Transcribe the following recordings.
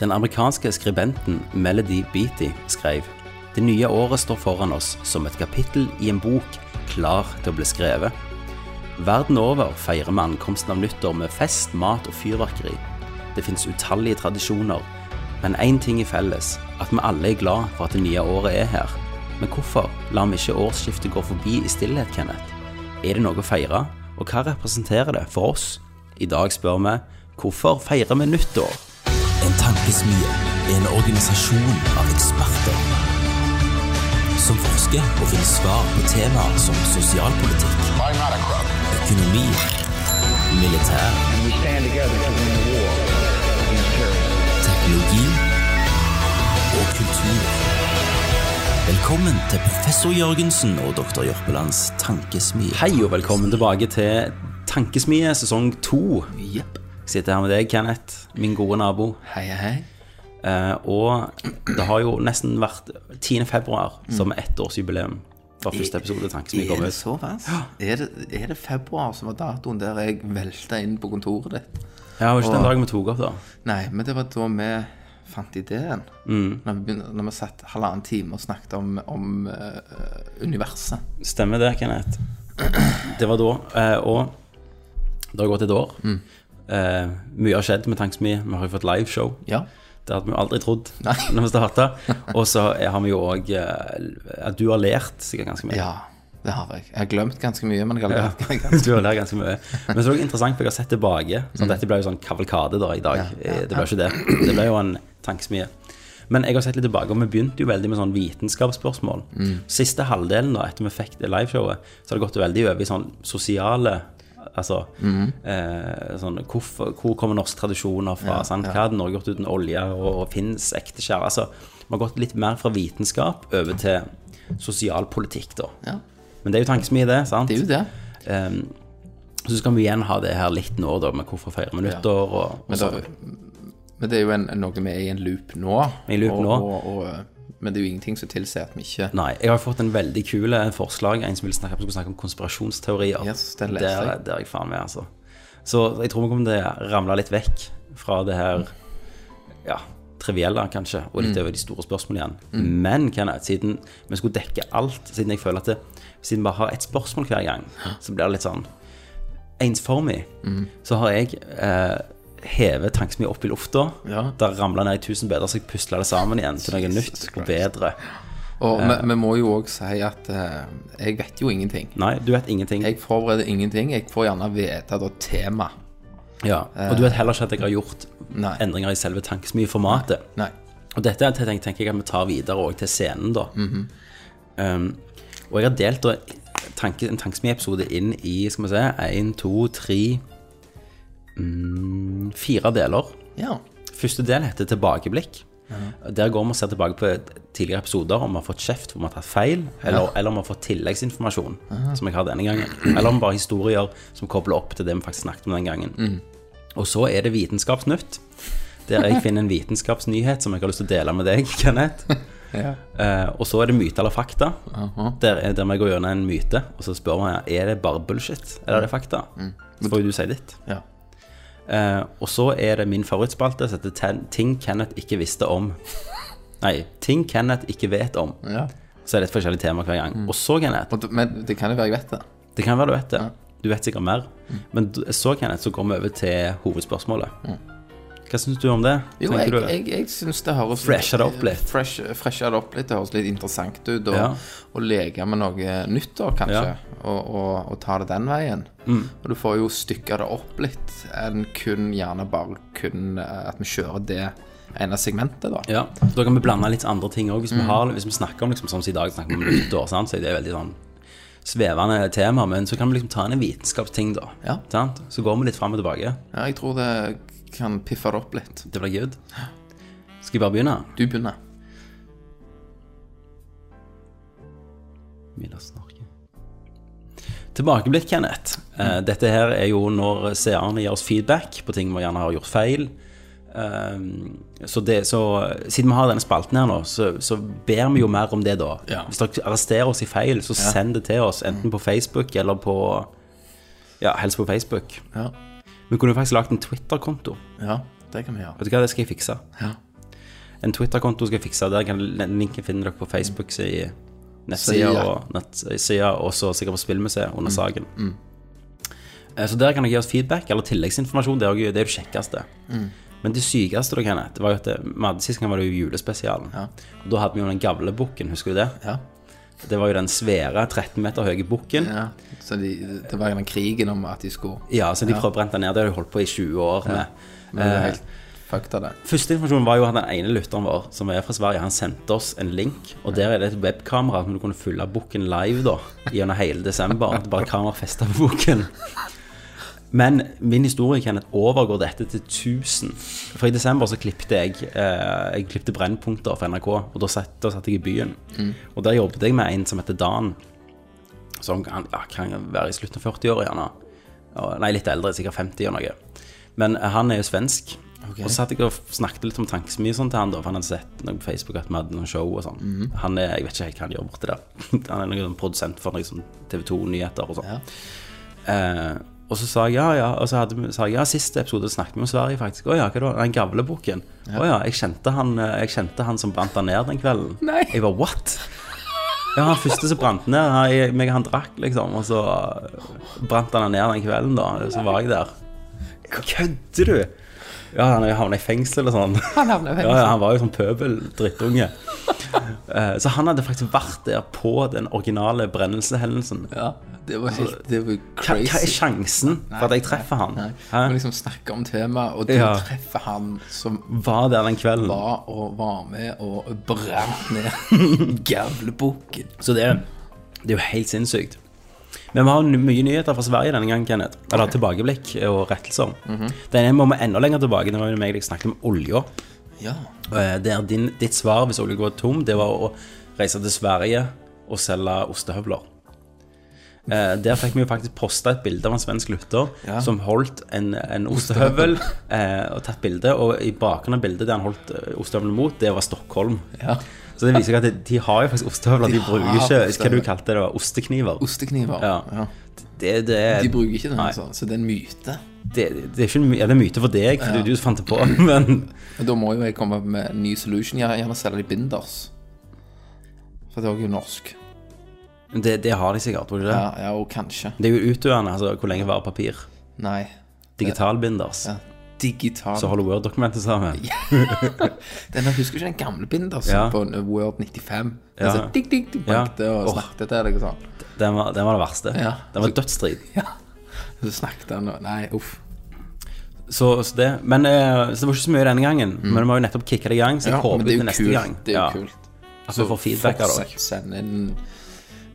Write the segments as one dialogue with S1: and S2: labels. S1: Den amerikanske skribenten Melody Beatty skrev Det nye året står foran oss som et kapittel i en bok klar til å bli skrevet. Verden over feirer vi ankomsten av nyttår med fest, mat og fyrverkeri. Det fins utallige tradisjoner, men én ting er felles, at vi alle er glad for at det nye året er her. Men hvorfor lar vi ikke årsskiftet gå forbi i stillhet, Kenneth? Er det noe å feire, og hva representerer det for oss? I dag spør vi hvorfor feirer vi nyttår?
S2: En tankesmie er en organisasjon av eksperter som forsker og finner svar på temaer som sosialpolitikk,
S3: I'm not a crook.
S2: økonomi, militær,
S4: We stand together to win the war against terrorism.
S2: teknologi og kultur. Velkommen til professor Jørgensen og doktor Jørpelands tankesmie.
S1: Hei og velkommen tilbake til Tankesmie sesong to.
S5: Jepp.
S1: Jeg sitter her med deg, Kenneth, min gode nabo.
S5: Hei, hei, hei.
S1: Eh, og det har jo nesten vært 10. februar som er ettårsjubileum fra første episode Tankesmie
S5: Er
S1: kom
S5: det
S1: ut.
S5: såpass? Er det, er det februar som var datoen der jeg velta inn på kontoret ditt?
S1: Ja, det var ikke den dagen vi tok opp, da.
S5: Nei, men det var da vi fant ideen.
S1: Mm.
S5: Når, vi begynte, når vi satt halvannen time og snakket om, om eh, universet.
S1: Stemmer det, Kenneth. Det var da. eh, og det har gått et år. Eh, mye har skjedd med Tankesmie. Vi har jo fått liveshow.
S5: Ja.
S1: Det hadde vi jo aldri trodd
S5: Nei.
S1: når vi starta. Og så har vi jo òg At du har lært sikkert ganske mye.
S5: Ja, det har jeg. Jeg har glemt ganske mye, Mm. men jeg har
S1: Ja.
S5: lært ganske
S1: Du har lært ganske mye. Men så er det også interessant, for jeg har sett tilbake. Så dette ble jo sånn kavalkade da i dag. Eh, Det ble jo ikke det. Det ble jo en tankesmie. Men jeg har sett litt tilbake, og vi begynte jo veldig med sånn vitenskapsspørsmål.
S5: Mm.
S1: Siste halvdelen da, etter vi fikk det liveshowet, så har det gått veldig over i sånn sosiale Altså
S5: Mm.
S1: eh, sånn hvorfor, Hvor kommer norske tradisjoner fra? sant? Hva hadde Norge gjort uten olje? Og, og fins ekte skjær? Altså, vi har gått litt mer fra vitenskap over til sosialpolitikk, da.
S5: Ja.
S1: Men det er jo tankesmie, det. sant?
S5: Det er jo det.
S1: Ehm, så skal vi igjen ha det her litt nå, da, med hvorfor feirer vi nyttår og, og
S5: Men,
S1: sånn.
S5: da, men det er jo en, noe vi er i en loop nå.
S1: Vi er i loop
S5: og,
S1: nå.
S5: Og, og, men det er jo ingenting som tilsier at vi ikke
S1: Nei, jeg har fått en veldig kule forslag, en som vil snakke, som skulle snakke om konspirasjonsteorier.
S5: Yes, den
S1: der,
S5: leste jeg.
S1: der er jeg faen med, altså. Så jeg tror vi kommer til å ramle litt vekk fra det her ja, trivielle, kanskje, og
S5: Mm.
S1: litt over de store spørsmålene igjen. Men Kenneth, siden vi skulle dekke alt, siden jeg føler at det, siden vi bare har et spørsmål hver gang, så blir det litt sånn ensformig,
S5: Mm.
S1: så har jeg eh, hevet tankesmien opp i lufta.
S5: Ja.
S1: Der ramla ned i tusen bedre, så jeg pusla det sammen igjen til noe nytt
S5: Jesus
S1: og
S5: Christ.
S1: bedre.
S5: Og vi, vi må jo òg si at eh, jeg vet jo ingenting.
S1: Nei, du vet ingenting.
S5: Jeg forbereder ingenting. Jeg får gjerne vite da tema.
S1: Ja, og du
S5: Eh.
S1: vet heller ikke at jeg har gjort
S5: Nei.
S1: endringer i selve tankesmieformatet.
S5: Nei.
S1: Og dette er- tenker, tenker jeg at vi tar videre også til scenen, da. um, og jeg har delt da, tanke, en tankesmieepisode inn i skal vi se, én, to, tre mm, Fire deler.
S5: Ja.
S1: Første del heter Tilbakeblikk. Der går vi og ser tilbake på tidligere episoder om vi har fått kjeft, om vi har tatt feil, eller, eller om vi har fått tilleggsinformasjon, som jeg har denne gangen. Eller om bare historier som kobler opp til det vi faktisk snakket om den gangen. Og så er det Vitenskapsnytt, der jeg finner en vitenskapsnyhet som jeg har lyst til å dele med deg, Kenneth. Eh, og så er det myte eller fakta. Der, er- der vi går gjennom en myte, og så spør vi er det bare bullshit, eller er det fakta. Så får jo du si ditt.
S5: ja.
S1: Eh, og så er det min favorittspalte som heter Ten- Ting Kenneth ikke visste om. Nei, Ting Kenneth ikke vet om.
S5: ja.
S1: Så er det et forskjellig tema hver gang.
S5: Mm.
S1: Og så, Kenneth
S5: Og, d- men det kan jo være jeg vet det.
S1: Det kan være du vet det. Du vet sikkert mer.
S5: Mm.
S1: Men d- så, Kenneth, så går vi over til hovedspørsmålet. Hva syns du om det?
S5: Jo,
S1: Tenker
S5: jeg,
S1: du-
S5: jeg, jeg syns det høres eh,
S1: Fresher det opp litt.
S5: Fresh, fresher det opp litt. Det høres litt interessant ut. Og,
S1: Ja.
S5: og leke med noe nytt, da, kanskje.
S1: Ja. Mm.
S5: Og, og, og ta det den veien. Og du får jo stykka det opp litt enn kun gjerne bare kun eh, at vi kjører det ene segmentet, da.
S1: Ja, da kan vi blande litt andre ting òg. Hvis,
S5: Mm.
S1: vi har- hvis vi snakker om liksom, sånn som i dag snakker vi om nyttår, sant? så er det veldig sånn svevende tema. Men så kan vi liksom ta inn en vitenskapsting, da.
S5: Ja.
S1: Sant? Så går vi litt fram og tilbake.
S5: Ja, jeg tror det kan piffe det opp litt.
S1: Det blir good. Skal vi bare begynne?
S5: Du begynner.
S1: Mila Snorke. Tilbakeblikk, Kenneth. Eh, dette her er jo når seerne gir oss feedback på ting vi gjerne har gjort feil. Ehm, så, det, så siden vi har denne spalten her nå, så, så ber vi jo mer om det, da.
S5: Ja.
S1: Hvis dere arresterer oss i feil, så send det til oss, enten på Facebook eller på Ja, helst på Facebook.
S5: Ja.
S1: Vi kunne jo faktisk lagd en Twitter-konto.
S5: ja, det kan vi gjøre.
S1: Vet du hva, det skal jeg fikse.
S5: Ja.
S1: en Twitter-konto skal jeg fikse der. Kan linken finner dere på Facebook-sida nettsida
S5: Sida. Mm.
S1: og nettsida, og så sikkert på spillmuseet under saken. Eh, Så der kan dere gi oss feedback eller tilleggsinformasjon. Det er jo det, er jo det kjekkeste.
S5: Mm.
S1: Men det sykeste dere kan, det var jo at det, vi hadde sist gang var det jo julespesialen. Og da hadde vi jo den gamle bukken, husker du det?
S5: Ja.
S1: Det var jo den svære 13 meter høye bukken.
S5: ja. Så de, det var jo den krigen om at de skulle
S1: Ja, så de prøvde å brenne den ned. Det har de holdt på i 20 år med.
S5: Men det
S1: Eh.
S5: er helt fucked av det.
S1: Første informasjonen var jo at den ene lytteren vår, som er fra Sverige, han sendte oss en link, og der er det et webkamera som du kunne følge bukken live da, gjennom hele desember. Det er bare kamera festet på bukken. Men min historie, Kenneth, overgår dette til 1000. For i desember så klippte jeg, eh, jeg klippte brennpunkter for NRK, og da satt, da satt jeg i byen. Og der jobbet jeg med en som heter Dan, som kan, ja, kan være i slutten av 40 år gjerne. Og- Nei, litt eldre, sikkert 50 eller noe. Men eh, han er jo svensk. Og så satt jeg og snakket litt om tankesmye sånn til han da, for han hadde sett noe på Facebook at vi hadde noen show og sånn. Han er, jeg vet ikke helt hva han gjør borte der. Han er noen sånn produsent for liksom, TV 2-nyheter og sånn. Eh, og så sa jeg ja, ja. Og så hadde, vi- sa jeg ja, siste episode snakket vi om Sverige, faktisk. Å ja, hva da? Den gamle bukken? Å ja, jeg kjente han, eh, jeg kjente han som brant han ned den kvelden.
S5: Nei.
S1: Jeg var what? Ja, han første som brant ned, han, jeg, meg, han drakk, liksom. Og så brant han ned den kvelden, da. og Så var jeg der. Kødder du? Ja, han havna i fengsel og sånn.
S5: Han havnet i fengsel.
S1: Ja, ja, han var jo sånn pøbel-drittunge. Eh, Så han hadde faktisk vært der på den originale brennelsehendelsen.
S5: Ja, det var helt det var
S1: Altså, Hva, hva er
S5: crazy.
S1: sjansen for at jeg treffer han?
S5: Nei.
S1: Hæ?
S5: Men liksom snakke om temaet, og du
S1: Ja.
S5: treffer han som
S1: Var der den kvelden.
S5: var og var med og brant ned gavlebukken.
S1: Så det, det er jo helt sinnssykt. Men vi har n- mye nyheter fra Sverige denne gangen, Kenneth. Eller tilbakeblikk og rettelser. Den ene må vi enda lenger tilbake. Det var jo meg jeg snakket om olja.
S5: Ja.
S1: Eh, Der din, ditt svar hvis olja går tom, det var å reise til Sverige og selge ostehøvler. Eh, der fikk vi jo faktisk posta et bilde av en svensk lytter
S5: Ja.
S1: som holdt en, en ostehøvel eh, og tatt bilde. Og i bakgrunnen av bildet der han holdt eh, ostehøvelen mot, det var Stockholm.
S5: ja.
S1: Så det viser seg at de, de har jo faktisk ostehøvler. De,
S5: De har
S1: bruker ikke hva du
S5: ostehøvler.
S1: kalte det, da, ostekniver.
S5: Ostekniver.
S1: Ja. Det, det,
S5: De bruker ikke den,
S1: Nei.
S5: altså. så det er en myte.
S1: det, det er ikke en my- ja, det er myte for deg, for du, du fant det på. Men
S5: Men da må jo jeg komme med en ny solution. Gjerne, gjerne selge de binders. For det er jo norsk.
S1: det, det har de sikkert. tror du Det
S5: Ja, ja, og kanskje.
S1: Det er jo utdøende. altså, Hvor lenge varer papir?
S5: Nei.
S1: Digitalbinders.
S5: Ja. Digital.
S1: Så holder Word-dokumentet sammen.
S5: Den, jeg husker ikke den gamle binders
S1: Ja.
S5: på en Word 95. Den
S1: Ja.
S5: så digg, digg, digg,
S1: Ja.
S5: bankte og
S1: Åh.
S5: snakket til deg og sånn.
S1: Den var, den var det verste.
S5: Ja.
S1: Den var dødsstrid.
S5: Så snakket han og Nei, uff.
S1: Så, så det Men eh, så det var ikke så mye denne gangen. Men vi har jo nettopp kicka det i gang, så jeg håper
S5: Mm. men det er
S1: til
S5: jo
S1: neste
S5: kult.
S1: gang
S5: Det er jo
S1: ja,
S5: kult.
S1: at vi får feedback av dere.
S5: Fortsett, Send inn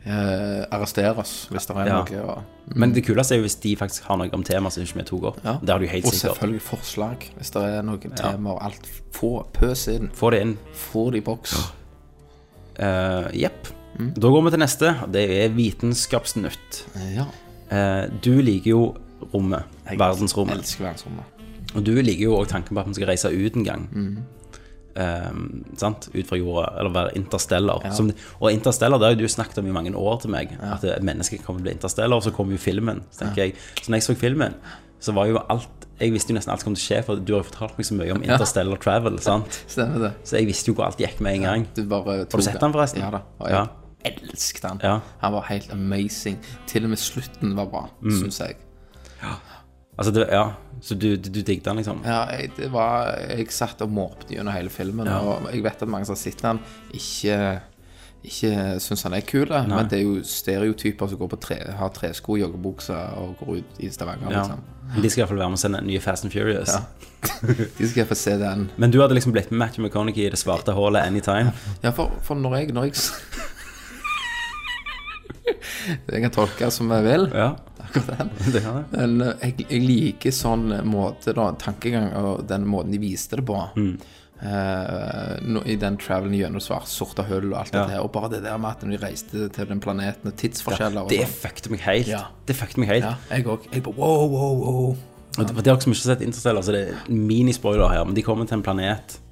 S5: eh, Arrester oss hvis det er
S1: Ja.
S5: noe.
S1: Men det kuleste er jo hvis de faktisk har noe om temaet som ikke vi tok opp.
S5: Og, Mm. ja.
S1: Det har du helt
S5: og
S1: sikkert.
S5: selvfølgelig forslag hvis det er noen temaer. Alt få pøs inn.
S1: Få det inn.
S5: Få det i boks.
S1: Eh, Jepp. Da går vi til neste, og det er Vitenskapsnytt.
S5: Ja.
S1: Eh, du liker jo rommet, verdensrommet.
S5: Elsker verdensrommet.
S1: Og du liker jo òg tanken på at vi skal reise ut en gang. Eh, sant? Ut fra jorda, eller være interstellar. Som, og interstellar det har jo du snakket om i mange år til meg. At eh, mennesket kommer til å bli interstellar, og så kommer jo filmen. Så tenker jeg Så når jeg så filmen, så var jo alt Jeg visste jo nesten alt som kom til å skje, for du har jo fortalt meg så mye om interstellar travel. sant?
S5: Stemmer det.
S1: Så jeg visste jo hvor alt gikk med en gang.
S5: Du bare
S1: du
S5: tok
S1: sett den forresten?
S5: Ja da. Og
S1: Ja.
S5: jeg elsket den.
S1: Ja.
S5: Han var helt amazing. Til og med slutten var bra,
S1: Mm.
S5: synes syns jeg.
S1: Altså, det, ja, Så du, du, du digget den, liksom?
S5: Ja, jeg, det var, jeg satt og måpte gjennom hele filmen, og jeg vet at mange som har sett den, ikke, ikke syns han er kul, men det er jo stereotyper som går på tre, har tresko, joggebukse og går ut i Stavanger,
S1: Ja.
S5: liksom.
S1: Men De skal iallfall være med og sende den nye Fast and Furious.
S5: De skal få se den.
S1: Men du hadde liksom blitt med Matthew McConaughey i det svarte hullet anytime.
S5: Ja, for, for når jeg Når jeg s- Jeg kan tolke som jeg vil,
S1: Ja,
S5: akkurat den.
S1: det kan jeg.
S5: Men eh, jeg, jeg liker sånn måte, da, tankegang, og den måten de viste det på.
S1: Mm.
S5: Eh, nå- I den travelen gjennom svart, sorte hull og alt
S1: Ja.
S5: det her. Og bare det der med at når de reiste til den planeten, og tidsforskjeller og
S1: Det
S5: sånn.
S1: fucket meg helt.
S5: Ja.
S1: Det fucket meg helt.
S5: Ja, jeg òg. Jeg bare wow, wow, wow.
S1: Og det- For dere som ikke har sett Interstellar, så det er minispoiler her, men de kommer til en planet eh,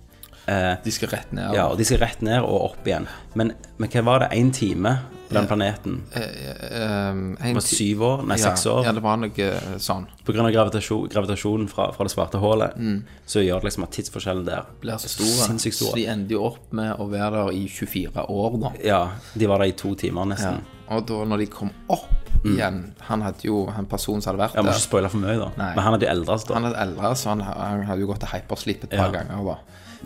S1: Eh,
S5: De skal rett ned.
S1: ja, og De skal rett ned og opp igjen. Men, men hva var det? Én time på den planeten?
S5: Um, Eh, en
S1: På
S5: ti-
S1: syv år? Nei, seks
S5: ja, Ja,
S1: år?
S5: det var noe sånn.
S1: Pga. gravitasjon, gravitasjonen fra, fra det svarte hullet,
S5: Mm.
S1: så gjør det liksom at tidsforskjellen der
S5: Blir så store.
S1: sinnssykt
S5: Så
S1: stor.
S5: de endte jo opp med å være der i 24 år, da.
S1: Ja, de var der i to timer
S5: Ja.
S1: nesten.
S5: Og da når de kom opp
S1: Mm.
S5: igjen Han hadde jo Han personen som hadde vært
S1: Jeg må
S5: der,
S1: ikke spoile for mye, da.
S5: Nei.
S1: Men han er de eldre. Altså, da.
S5: han hadde eldre, så han, han hadde jo gått til hypersleep et
S1: Ja.
S5: par ganger. da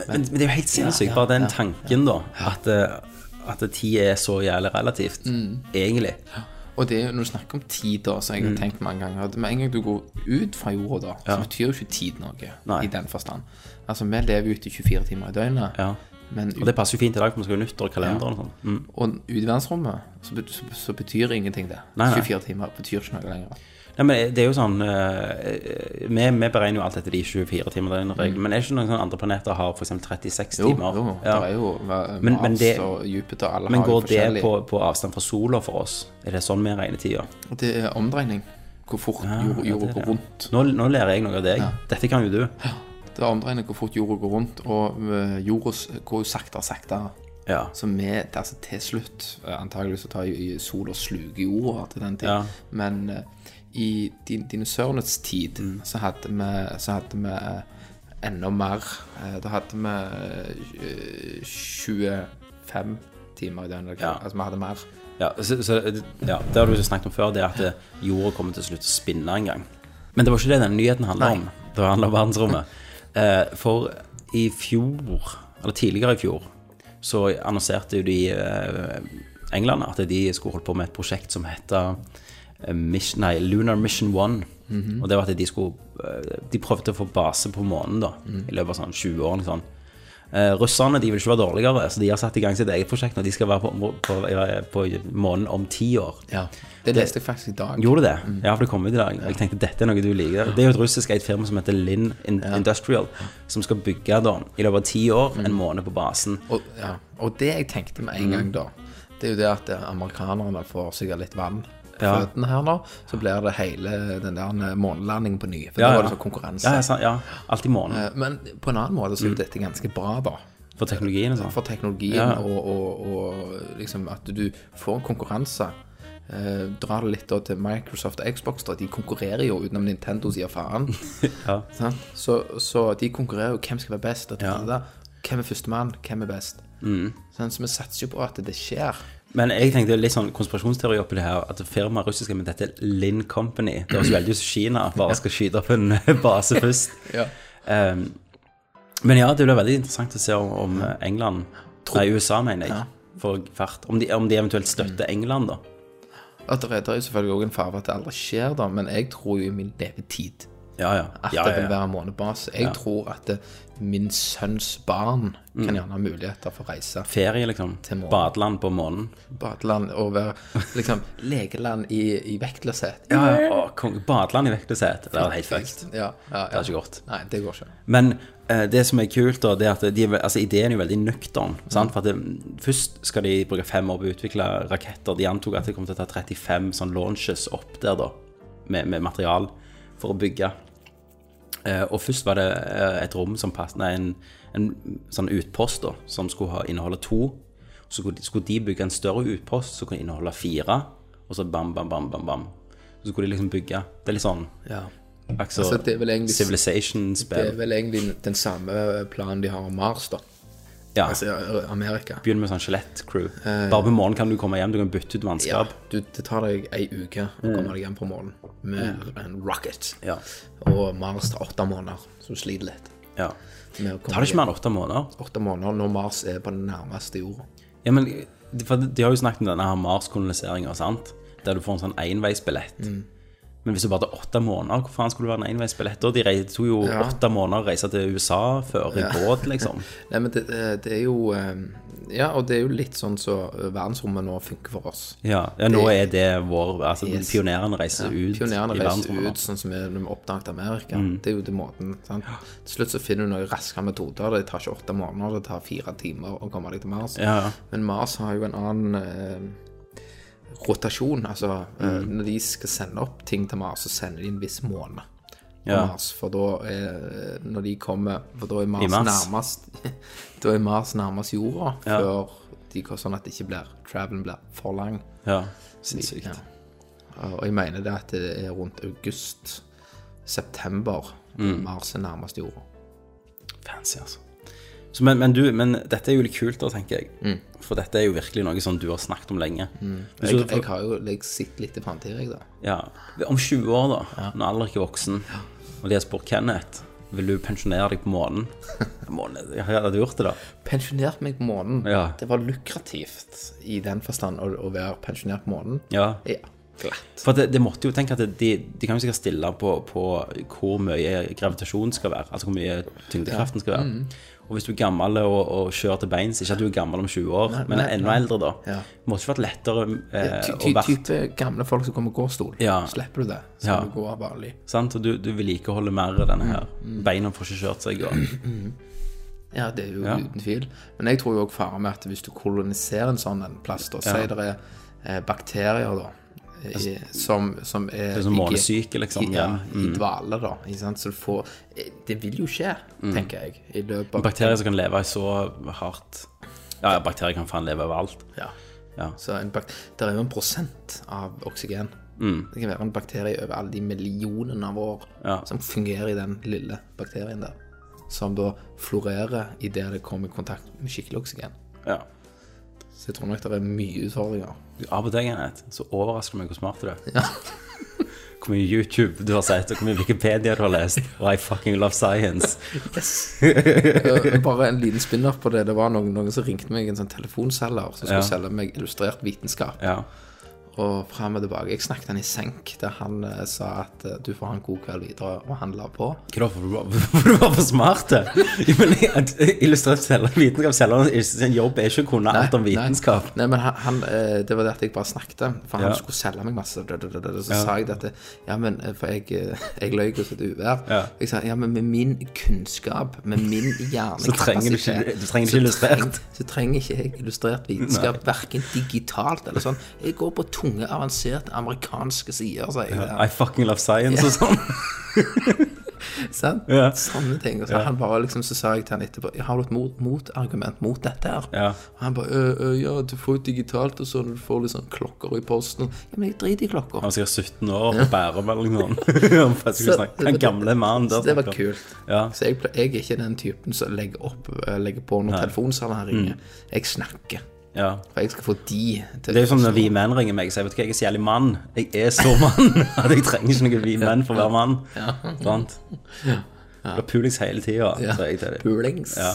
S1: Men, men det er jo helt sinnssykt. bare den tanken, da. At, eh, at tid er så jævlig relativt,
S5: Mm.
S1: egentlig.
S5: Og det er jo når du snakker om tid, da, som
S1: Mm.
S5: jeg har tenkt mange ganger at Med en gang du går ut fra jorda, da, så betyr jo ikke tid noe.
S1: Nei.
S5: I den forstand. Altså, vi lever jo ute i 24 timer i døgnet.
S1: Ja.
S5: Men
S1: Og
S5: ut,
S1: det passer jo fint i dag, for vi skal jo nyttår og kalender og sånn. Mm.
S5: og ute i verdensrommet så, bet- så, så betyr ingenting det.
S1: Nei, nei.
S5: 24 timer betyr ikke noe lenger.
S1: Nei, men det er jo sånn eh, vi, vi beregner jo alt etter de 24 timer døgnregelen, men er det ikke noen sånne andre planeter har f.eks. 36
S5: Mm. Jo,
S1: timer?
S5: jo,
S1: Ja.
S5: det er jo Mars
S1: Men- men det-
S5: og Jupiter alle
S1: Men
S5: har jo
S1: går det
S5: forskjellig-
S1: på, på avstand fra sola for oss? Er det sånn vi regner tida?
S5: Det er omdreining. Hvor fort
S1: ja,
S5: jorda jorda
S1: det er
S5: går
S1: det.
S5: rundt.
S1: Nå, nå lærer jeg noe av deg. Dette kan jo du.
S5: Det er omdreining hvor fort jorda går rundt, og eh, jorda s- går jo saktere og saktere.
S1: Ja.
S5: Så vi, det er altså til slutt eh, antageligvis så tar jo sol og sluker jorda til den tid.
S1: Ja.
S5: Men eh, i din, dinosaurenes tid
S1: Mm.
S5: så hadde vi, så hadde vi eh, enda mer. Eh, Da hadde vi eh, 25 timer i døgnet.
S1: Ja.
S5: Altså vi hadde mer.
S1: Ja, så, så, ja, det har du snakket om før, det at eh, jorda kommer til å slutte å spinne en gang. Men det var ikke det denne nyheten handla om. Det handla om verdensrommet. Eh, for i fjor, eller tidligere i fjor, så annonserte jo de eh, England at de skulle holde på med et prosjekt som heter Mission, nei, Lunar Mission One. Og det var at de skulle eh, De prøvde å få base på månen da i løpet av sånn 20 år. Liksom. Eh, russerne de vil ikke være dårligere, så de har satt i gang sitt eget prosjekt. Når de skal være på, på, på, månen om ti år.
S5: Det leste jeg faktisk i dag.
S1: Gjorde du det? Ja, for det kom ut i dag. Jeg tenkte dette er noe du liker. Det er jo et russisk eid firma som heter Linn In Industrial, som skal bygge da, i løpet av ti år en måned på basen.
S5: Og, ja. og det jeg tenkte
S1: Mm.
S5: med en gang da, det er jo det at eh, amerikanerne får sikkert litt vann på
S1: Ja.
S5: føttene her nå, så blir det hele den der eh, månelandingen på ny. For
S1: Ja,
S5: da var
S1: ja.
S5: det sånn konkurranse.
S1: Ja, ja, sant, ja. Alt i måneden.
S5: Eh, Men på en annen måte så er jo dette ganske bra, da.
S1: For teknologien og sånn.
S5: For teknologien
S1: Mm. Ja.
S5: og, og, og liksom at du får en konkurranse. Eh, drar det litt da til Microsoft og Xbox, da. De konkurrerer jo utenom Nintendo sier faen.
S1: Ja.
S5: Sant? Så, så de konkurrerer jo hvem skal være best. Og det, det der. Hvem er førstemann? Hvem er best?
S1: Mm.
S5: Sånn, så vi satser jo på at det skjer.
S1: Men jeg tenkte litt sånn konspirasjonsteori oppi det her, at firmaet russiske med dette Linn Company Det høres jo veldig ut som Kina bare skal skyte opp en base først.
S5: Ja.
S1: Ehm, men ja, det blir veldig interessant å se om, om England Nei, USA, mener jeg. Får fart. Om de, om de eventuelt støtter England, da.
S5: At det, det er jo selvfølgelig også en fare for at det aldri skjer, da, men jeg tror jo i min levetid
S1: Ja, ja.
S5: at
S1: ja,
S5: det vil
S1: ja, ja.
S5: være månebase. Jeg tror at det, min sønns barn
S1: Mm.
S5: kan gjerne ha muligheter for å reise
S1: Ferie, liksom.
S5: Til månen.
S1: Badeland på månen.
S5: til badeland og være liksom legeland i, i vektløshet.
S1: Ja, ja. Å, kong, badeland i vektløshet. Det er helt fucked.
S5: Ja, ja,
S1: Det er ikke godt.
S5: Nei, det går ikke.
S1: Men eh, det som er kult, da, det er at de, er ve- altså, ideen er jo veldig nøktern. Sant? For at det, først skal de bruke fem år på å utvikle raketter. De antok at det kom til å ta 35 sånn launches opp der, da, med, med material for å bygge. Eh, og først var det eh, et rom som passet Nei, en, en sånn utpost da, som skulle ha, inneholde to. Så skulle de- skulle de bygge en større utpost som kunne inneholde fire. Og så bam, bam, bam, bam, bam. Så skulle de liksom bygge. Det er litt sånn altså,
S5: Altså, det er vel egentlig- Det
S1: Civilization-spill.
S5: er vel egentlig den samme planen de har om Mars, da.
S1: Ja,
S5: Altså Eh, ja, Amerika.
S1: begynn med sånn skjelett-crew. Bare på morgenen kan du komme hjem, du kan bytte ut
S5: Ja,
S1: mannskap.
S5: du, det tar deg ei uke å komme deg hjem på månen med en rocket.
S1: Mm. Ja.
S5: Og Mars tar åtte måneder, så du sliter litt.
S1: Ja.
S5: med å komme
S1: Tar det ikke mer enn åtte måneder?
S5: hjem. åtte måneder når Mars er på den nærmeste jorda.
S1: Ja, men for De har jo snakket om denne her Mars-koloniseringa, sant? Der du får en sånn enveisbillett.
S5: Mm.
S1: Men hvis du bare tar åtte måneder, hvor faen skulle det være en enveisbillett da? De rei- tok jo åtte måneder å reise til USA før i båt, liksom.
S5: Nei, men det, det er jo eh, Ja, og det er jo litt sånn så eh, verdensrommet nå funker for oss.
S1: Ja, ja nå er det vår Altså,
S5: Yes.
S1: pionerene reiser ut
S5: Pionerene
S1: i
S5: reiser
S1: verdensrommet. Mm.
S5: ut sånn som vi når vi oppdaget Amerika. Det er jo den måten. sant? Til slutt så finner du noen raskere metoder. Det tar ikke åtte måneder, det tar fire timer å komme deg til Mars.
S1: Ja, ja.
S5: Men Mars har jo en annen eh,
S1: Mm.
S5: rotasjon. Altså, eh, når de skal sende opp ting til Mars, så sender de en viss måned.
S1: Ja.
S5: og Mars, for da er, når de kommer For da er Mars,
S1: mars.
S5: nærmest Da er Mars nærmest jorda
S1: Ja.
S5: før de, sånn at det ikke blir travelen blir for lang.
S1: Ja, sinnssykt.
S5: Ja. Og jeg mener det at det er rundt august, september
S1: Mm.
S5: Mars er nærmest jorda.
S1: Fancy, altså. Så, men, men, du, men dette er jo litt kult, da, tenker jeg. For dette er jo virkelig noe som du har snakket om lenge. Hvis
S5: Mm. Jeg,
S1: du-
S5: jeg har jo jeg sitter litt i framtida, jeg, da.
S1: ja, om 20 år, da, når alle er ikke voksen, og de har spurt Kenneth vil du pensjonere deg på månen? månen ja, hadde du gjort det, da?
S5: Pensjonert meg på månen.
S1: Ja.
S5: Det var lukrativt i den forstand å, å være pensjonert på månen.
S1: Ja.
S5: Ja, glatt.
S1: For det, det måtte jo tenke at det- de, de kan jo sikkert stille på, på hvor mye gravitasjon skal være. Altså hvor mye tyngdekraften skal være.
S5: Mm.
S1: Og hvis du er gammel og, og kjører til beins Ikke at du er gammel om 20 år, men
S5: nei,
S1: enda
S5: nei.
S1: eldre, da.
S5: Ja.
S1: Måtte ikke vært lettere eh,
S5: Ty, ty,
S1: å være
S5: type gamle folk som kommer med gåstol.
S1: Ja.
S5: Slipper du det, så
S1: Ja.
S5: kan du gå av vanlig.
S1: Sant? Og du, du vedlikeholder mer av denne her.
S5: Mm,
S1: Beina får ikke kjørt seg. Og...
S5: Ja, det er jo uten tvil. Men jeg tror jo òg faren med at hvis du koloniserer en sånn en plass, da, si det er eh, bakterier, da, i, som, som er
S1: Altså, er sånn
S5: ikke-
S1: månesyke, liksom,
S5: Ja,
S1: ja.
S5: i dvale, da. Ikke sant? Så du får eh, Det vil jo skje,
S1: Mm.
S5: tenker jeg, i løpet av
S1: Bakterier som kan leve i så hardt Ja, ja, bakterier kan faen leve over alt.
S5: Ja.
S1: Ja.
S5: Så en bak der er jo en prosent av oksygen. Det kan være en bakterie over alle de millionene av år
S1: Mm. Ja.
S5: som fungerer i den lille bakterien der. Som da florerer idet det kommer i kontakt med skikkelig oksygen.
S1: ja.
S5: Så jeg tror nok det er mye utfordringer.
S1: Du, av og til, Kenneth, så overrasker du meg hvor smart du er. Hvor mye YouTube du har sett, og hvor mye Wikipedia du har lest. Og I fucking love science.
S5: Eh, Bare en liten spin-off på det. Det var noen, noen som ringte meg, en sånn telefonselger, som
S1: Ja.
S5: skulle selge meg illustrert vitenskap.
S1: Ja.
S5: Og fram og tilbake. Jeg snakket han i senk, der han eh, sa at eh, du får ha en god kveld videre, og han la på.
S1: Hva da, for du var- for du var for smart? det? Men at Illustrert selger vitenskap, selger sin jobb er ikke å kunne alt om
S5: Nei,
S1: vitenskap.
S5: Nei, nei men han, han, eh, det var det at jeg bare snakket, for
S1: Ja.
S5: han skulle selge meg masse. da, da, da, da, da, Så sa jeg dette, ja, men eh, for jeg, eh, jeg løy hos et uvær.
S1: Ja.
S5: Jeg sa, ja, men med min kunnskap, med min hjernekapasitet
S1: Så trenger du ikke- du trenger ikke
S5: så
S1: illustrert.
S5: treng- Så trenger ikke jeg illustrert vitenskap, hverken digitalt eller sånn. Jeg går på tunge, avanserte amerikanske sider, sier jeg.
S1: I fucking love science og sånn.
S5: Sant?
S1: Ja.
S5: Sånne ting. Og så, han bare liksom, så sa jeg til han etterpå Har du et mot- motargument mot, dette her?
S1: Ja.
S5: Og han bare «Øh, øh, Ja, du får jo digitalt og sånn, du får litt sånn klokker i posten. Ja, men jeg driter i klokka.
S1: Han var sikkert 17 år og bærer vel noe sånt. Den gamle mannen der.
S5: Så det var
S1: snakker.
S5: kult.
S1: Ja.
S5: Så jeg, ple- jeg er ikke den typen som legger, opp, eh, legger på når telefonsalene ringer. Jeg snakker.
S1: Ja.
S5: For jeg skal få de til
S1: Mm. Det er jo sånn når vi menn ringer meg, så jeg vet ikke, jeg er så jævlig mann. Jeg er så mann at jeg trenger ikke noen vi menn for å være mann. Sant? Det er pulings hele tida,
S5: ja.
S1: sier jeg til dem.
S5: Pulings.
S1: Ja.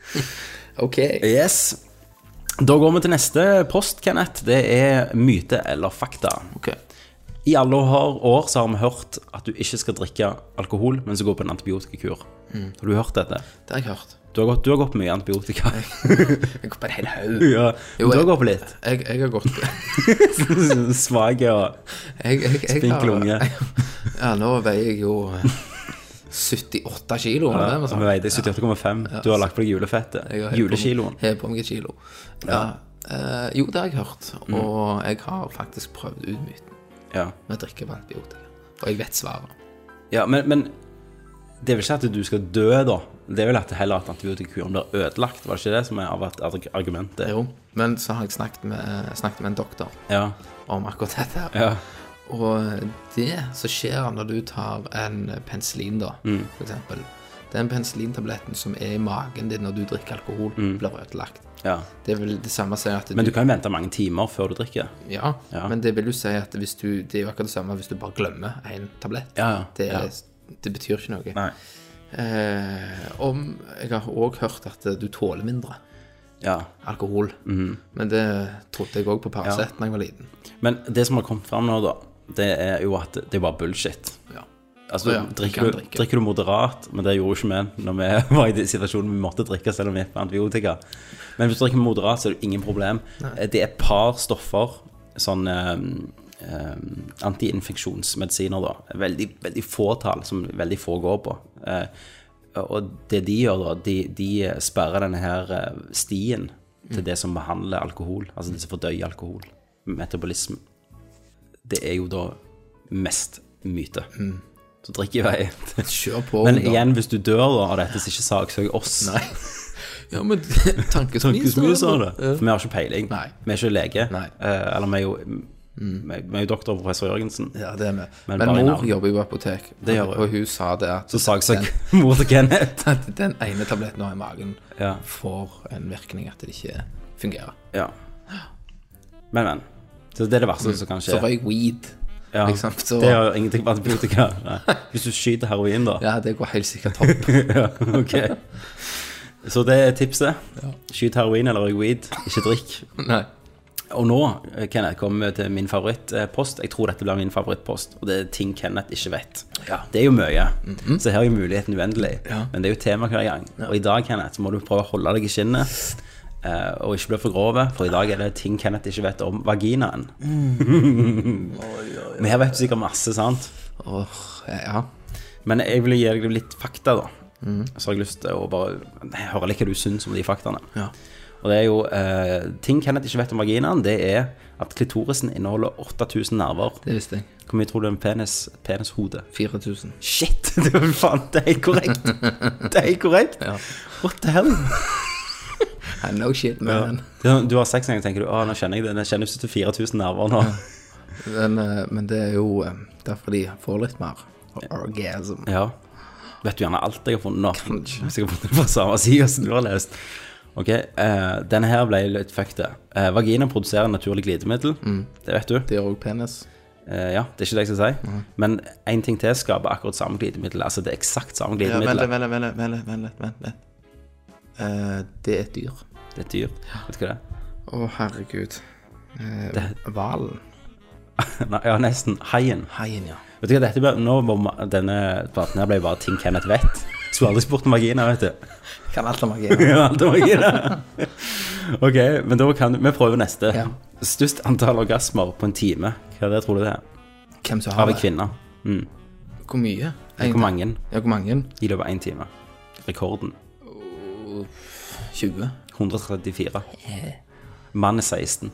S5: OK.
S1: Yes. Da går vi til neste post, Kenneth. Det er myte eller fakta.
S5: Ok.
S1: I alle har- år så har vi hørt at du ikke skal drikke alkohol mens du går på en antibiotikakur.
S5: Mm.
S1: Har du hørt dette?
S5: Det har jeg hørt.
S1: Du har gått, du har gått mye antibiotika.
S5: Jeg går på en hel haug.
S1: ja.
S5: Jo,
S1: du har
S5: jeg-
S1: gått på litt.
S5: Jeg, jeg har gått
S1: Svak og
S5: jeg, jeg, jeg,
S1: Spinkel
S5: har-
S1: unge.
S5: Ja, nå veier jeg jo eh, 78 kilo.
S1: Ja,
S5: eller noe
S1: Vi
S5: sånt.
S1: veide 78,5. Du har lagt på deg julefettet.
S5: Jeg har helt
S1: Julekiloen.
S5: på- Helt på meg et kilo. Ja. eh, jo, det har jeg hørt.
S1: Mm.
S5: Og jeg har faktisk prøvd ut myten
S1: Ja.
S5: med å drikke med antibiotika. Og jeg vet svaret.
S1: ja, men, men det er vel ikke at du skal dø, da. Det er vel at heller at antibiotikuren blir ødelagt. Var det ikke det som er av at- at argumentet?
S5: Jo, men så har jeg snakket med, eh, snakket med en doktor
S1: Ja.
S5: om akkurat dette. her.
S1: ja.
S5: Og eh, det som skjer når du tar en penicillin, da,
S1: Mm.
S5: for eksempel Den penicillintabletten som er i magen din når du drikker alkohol, blir ødelagt.
S1: ja.
S5: Det er vel det samme som at
S1: Mm. Men du kan jo vente mange timer før du drikker.
S5: Ja,
S1: Ja.
S5: men det vil jo si at hvis du, det er jo akkurat det samme hvis du bare glemmer en tablett.
S1: Ja, ja,
S5: det, er-
S1: ja.
S5: det betyr ikke noe.
S1: Nei.
S5: Eh, om Jeg har òg hørt at du tåler mindre
S1: Ja.
S5: alkohol.
S1: Mhm.
S5: Men det trodde jeg òg på Paracet da jeg var liten.
S1: Men det som har kommet fram nå, da, det er jo at det er bare bullshit.
S5: Ja.
S1: Altså,
S5: Ja, du
S1: drikker,
S5: kan
S1: du,
S5: drikke.
S1: drikker du moderat, men det gjorde ikke vi når vi var i den situasjonen vi måtte drikke selv om vi gikk på antibiotika. Men hvis du drikker moderat, så er det ingen problem. Eh, Det er et par stoffer, sånn eh, eh, antiinfeksjonsmedisiner, da. Veldig, veldig få tall som veldig få går på. Eh, og det de gjør, da, de, de sperrer denne her eh, stien
S5: Mm.
S1: til det som behandler alkohol, altså det som fordøyer alkohol.
S5: Mm.
S1: Metabolismen. Det er jo da mest myte. Så drikk i vei.
S5: Kjør på.
S1: Men
S5: ungdom.
S1: igjen, hvis du dør da av dette, så ikke saksøk oss.
S5: Nei. Ja, men
S1: Ikke
S5: tankesmis
S1: så mye, sa
S5: da.
S1: det. For vi har ikke peiling.
S5: Nei.
S1: Vi er ikke lege.
S5: Nei.
S1: Eh, eller vi er jo vi vi er jo doktor og professor Jørgensen.
S5: Ja, det er vi.
S1: Men
S5: Men,
S1: bare i
S5: mor
S1: navn.
S5: jobber jo i apotek,
S1: Det gjør hun.
S5: og hun sa det at
S1: Så saksøk mor til Kenneth.
S5: at den ene tabletten hun har i magen,
S1: Ja.
S5: får en virkning at det ikke fungerer.
S1: Ja. Men, men. Så det er det verste som kan
S5: Mm. Så
S1: skje.
S5: røyk weed.
S1: Ja.
S5: ikke sant, så-
S1: Det har jo ingenting med antibiotika. Nei. Hvis du skyter heroin, da.
S5: Ja, det går helt sikkert topp.
S1: Ja, ok. Så det er tipset. Skyt heroin eller røyk weed. Ikke drikk.
S5: Nei.
S1: Og nå, eh, Kenneth, kommer vi til min favorittpost. Jeg tror dette blir min favorittpost, og det er ting Kenneth ikke vet.
S5: Ja. Mhm.
S1: Det er jo mye, så her er jo muligheten uendelig.
S5: Ja.
S1: Men det er jo tema hver gang. Og i dag, Kenneth, så må du prøve å holde deg i skinnet. eh, Og ikke bli for grove, for i dag er det ting Kenneth ikke vet om vaginaen.
S5: Mm.
S1: Men her vet du sikkert masse, sant?
S5: Åh, ja.
S1: Men jeg vil gi deg litt fakta, da.
S5: Mm.
S1: Så har jeg lyst til å bare høre litt hva du syns om de faktaene.
S5: Ja.
S1: Og det er jo eh, Ting Kenneth ikke vet om vaginaen, det er at klitorisen inneholder 8000 nerver.
S5: Det visste jeg.
S1: Hvor mye tror du er en penis? Penishode?
S5: 4000.
S1: Shit! Det er jo faen, det er helt korrekt. Det er helt korrekt.
S5: Ja.
S1: What the hell?
S5: No shit, man.
S1: Det er sånn, Du har sex en gang, tenker du. Å, nå kjenner jeg det. Jeg kjenner ikke til 4000 nerver nå.
S5: Men, eh, men det er jo eh, derfor de får litt mer orgasm.
S1: Ja. Vet du gjerne alt jeg har funnet nå? Hvis jeg har funnet det på samme side som du har lest. Ok, eh, Denne her ble litt fucked. Uh, vagina produserer naturlig glidemiddel. Det vet du.
S5: Det gjør òg penis.
S1: Eh, ja, det er ikke det jeg skal si. Men én ting til skaper akkurat samme glidemiddel. Altså det er eksakt samme
S5: Ja, vent
S1: glidemiddel.
S5: litt, vent litt, vent litt, vent litt, vent litt, vent litt. Eh, det er et dyr.
S1: det er et dyr. Vet du hva det er?
S5: Å, herregud. Eh, Hvalen.
S1: Nei, ja, nesten. Haien.
S5: Haien, ja.
S1: Vet du hva, dette ble, nå var ma- Denne praten her ble bare ting Kenneth vet. Skulle aldri spurt om vagina, vet du.
S5: Kan alt om vagina.
S1: Ja, alt om vagina. ok, men da kan vi prøve neste.
S5: Ja.
S1: Størst antall orgasmer på en time. Hva er det, tror du det er?
S5: Hvem som
S1: Av
S5: har
S1: en
S5: det?
S1: kvinne. Mm.
S5: Hvor mye?
S1: Hvor mange
S5: Ja, hvor mange?
S1: i løpet av én time? Rekorden.
S5: 20.
S1: 134. Mann er 16.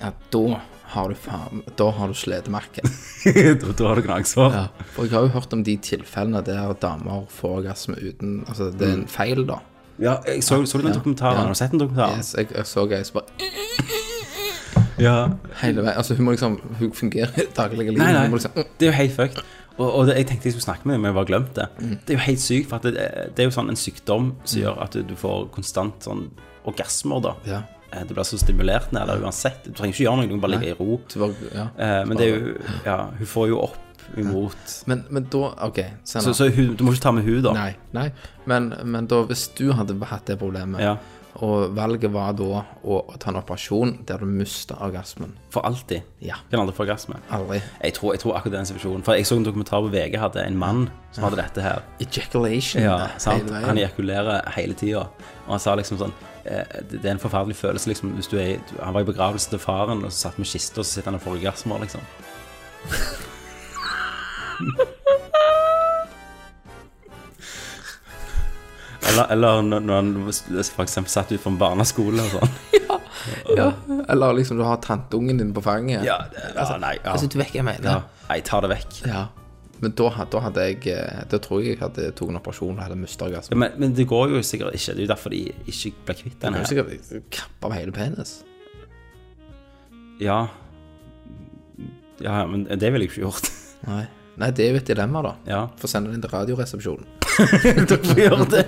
S5: Ja, da har du faen Da har du sledemerke.
S1: da, da har du gnagsår.
S5: Ja. For jeg har jo hørt om de tilfellene der damer får orgasme uten Altså, det er
S1: Mm.
S5: en feil, da.
S1: Ja, jeg så, så du den dokumentaren?
S5: Ja.
S1: Har du sett den dokumentaren?
S5: Jeg, jeg, jeg så ei som bare
S1: Ja.
S5: hele veien Altså, hun må liksom Hun fungerer i det daglige livet.
S1: Nei, nei,
S5: Hun må liksom
S1: det er jo helt fucked. Og, og det, jeg tenkte jeg skulle snakke med deg, men jeg bare glemte det.
S5: Mm.
S1: Det er jo helt sykt, for at det, det er jo sånn en sykdom som gjør at du får konstant sånn orgasmer, da.
S5: Ja.
S1: Eh, Du blir så stimulert ned der uansett. Du trenger ikke gjøre noe, du kan bare ligge i ro.
S5: Så bare- ja.
S1: Eh, Men det er jo Ja, hun får jo opp imot
S5: men, men da OK, se
S1: Så,
S5: nå.
S1: så hun, du må ikke ta med hun da.
S5: Nei. nei. Men, men da, hvis du hadde hatt det problemet,
S1: Ja.
S5: og valget var da å, å ta en operasjon der du mister orgasmen
S1: For alltid.
S5: Ja.
S1: Kan aldri få orgasme.
S5: Aldri.
S1: Jeg tror, jeg tror akkurat den situasjonen For jeg så en dokumentar på VG hadde en mann som hadde dette her.
S5: Ejaculation.
S1: Ja,
S5: hele
S1: sant?
S5: veien.
S1: Han ejakulerer hele tida. Og han sa liksom sånn eh, Det det er en forferdelig følelse, liksom. Hvis du er, i- du- han var i begravelse til faren, og så satt vi i kista, og så sitter han og får orgasmer, liksom. Eller, eller når når han for eksempel satt ut fra en barneskole og sånn.
S5: ja. Eller liksom du har tanteungen din på fanget.
S1: Ja, det, ja, nei, ja.
S5: Altså, du vet hva jeg mener.
S1: ja. Nei, ta det vekk.
S5: Ja. Men da, had- da hadde jeg eh, Da tror jeg jeg hadde tok en operasjon og hadde mista
S1: Ja,
S5: orgasmen.
S1: men, men det går jo sikkert ikke. Det er jo derfor de ikke ble kvitt den her.
S5: Jeg kan jo sikkert kappe av hele penis.
S1: Ja. ja, ja, men det ville jeg ikke gjort.
S5: Nei. Nei, det er jo et dilemma, da.
S1: Ja.
S5: Få sende den til Radioresepsjonen.
S1: Du får gjøre det.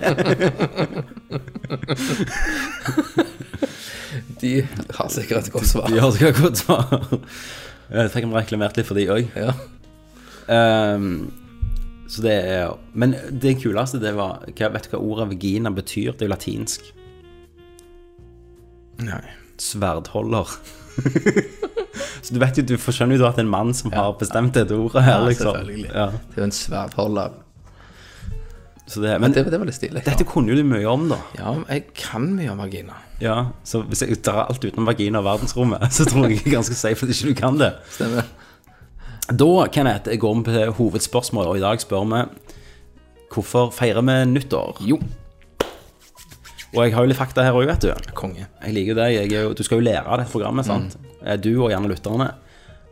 S5: De har sikkert et godt svar.
S1: Ja, det kan jeg godt svare. Jeg fikk meg reklamert litt for de òg.
S5: Ja.
S1: så det er Men det kuleste, det var hva, Vet du hva ordet vagina betyr? Det er jo latinsk.
S5: Nei.
S1: Sverdholder. så du vet jo, du får- skjønner jo da at det er en mann som har bestemt dette ordet her,
S5: Ja,
S1: liksom.
S5: selvfølgelig.
S1: Ja,
S5: Det er jo en sverdholder.
S1: så det, men
S5: Det, det var litt stilig. da.
S1: dette kunne jo du mye om, da.
S5: Ja, men jeg kan mye om vagina.
S1: Ja, så hvis jeg drar alt utenom vagina og verdensrommet, så tror jeg jeg er ganske safe at ikke du kan det.
S5: Stemmer.
S1: Da, Kenneth, går vi til hovedspørsmålet, og i dag spør vi hvorfor feirer vi nyttår?
S5: Jo.
S1: Og jeg har jo litt fakta her òg, vet du.
S5: Konge.
S1: Jeg liker jo det. Jeg er jo, du skal jo lære av dette programmet, sant? Eh, Du og gjerne lytterne.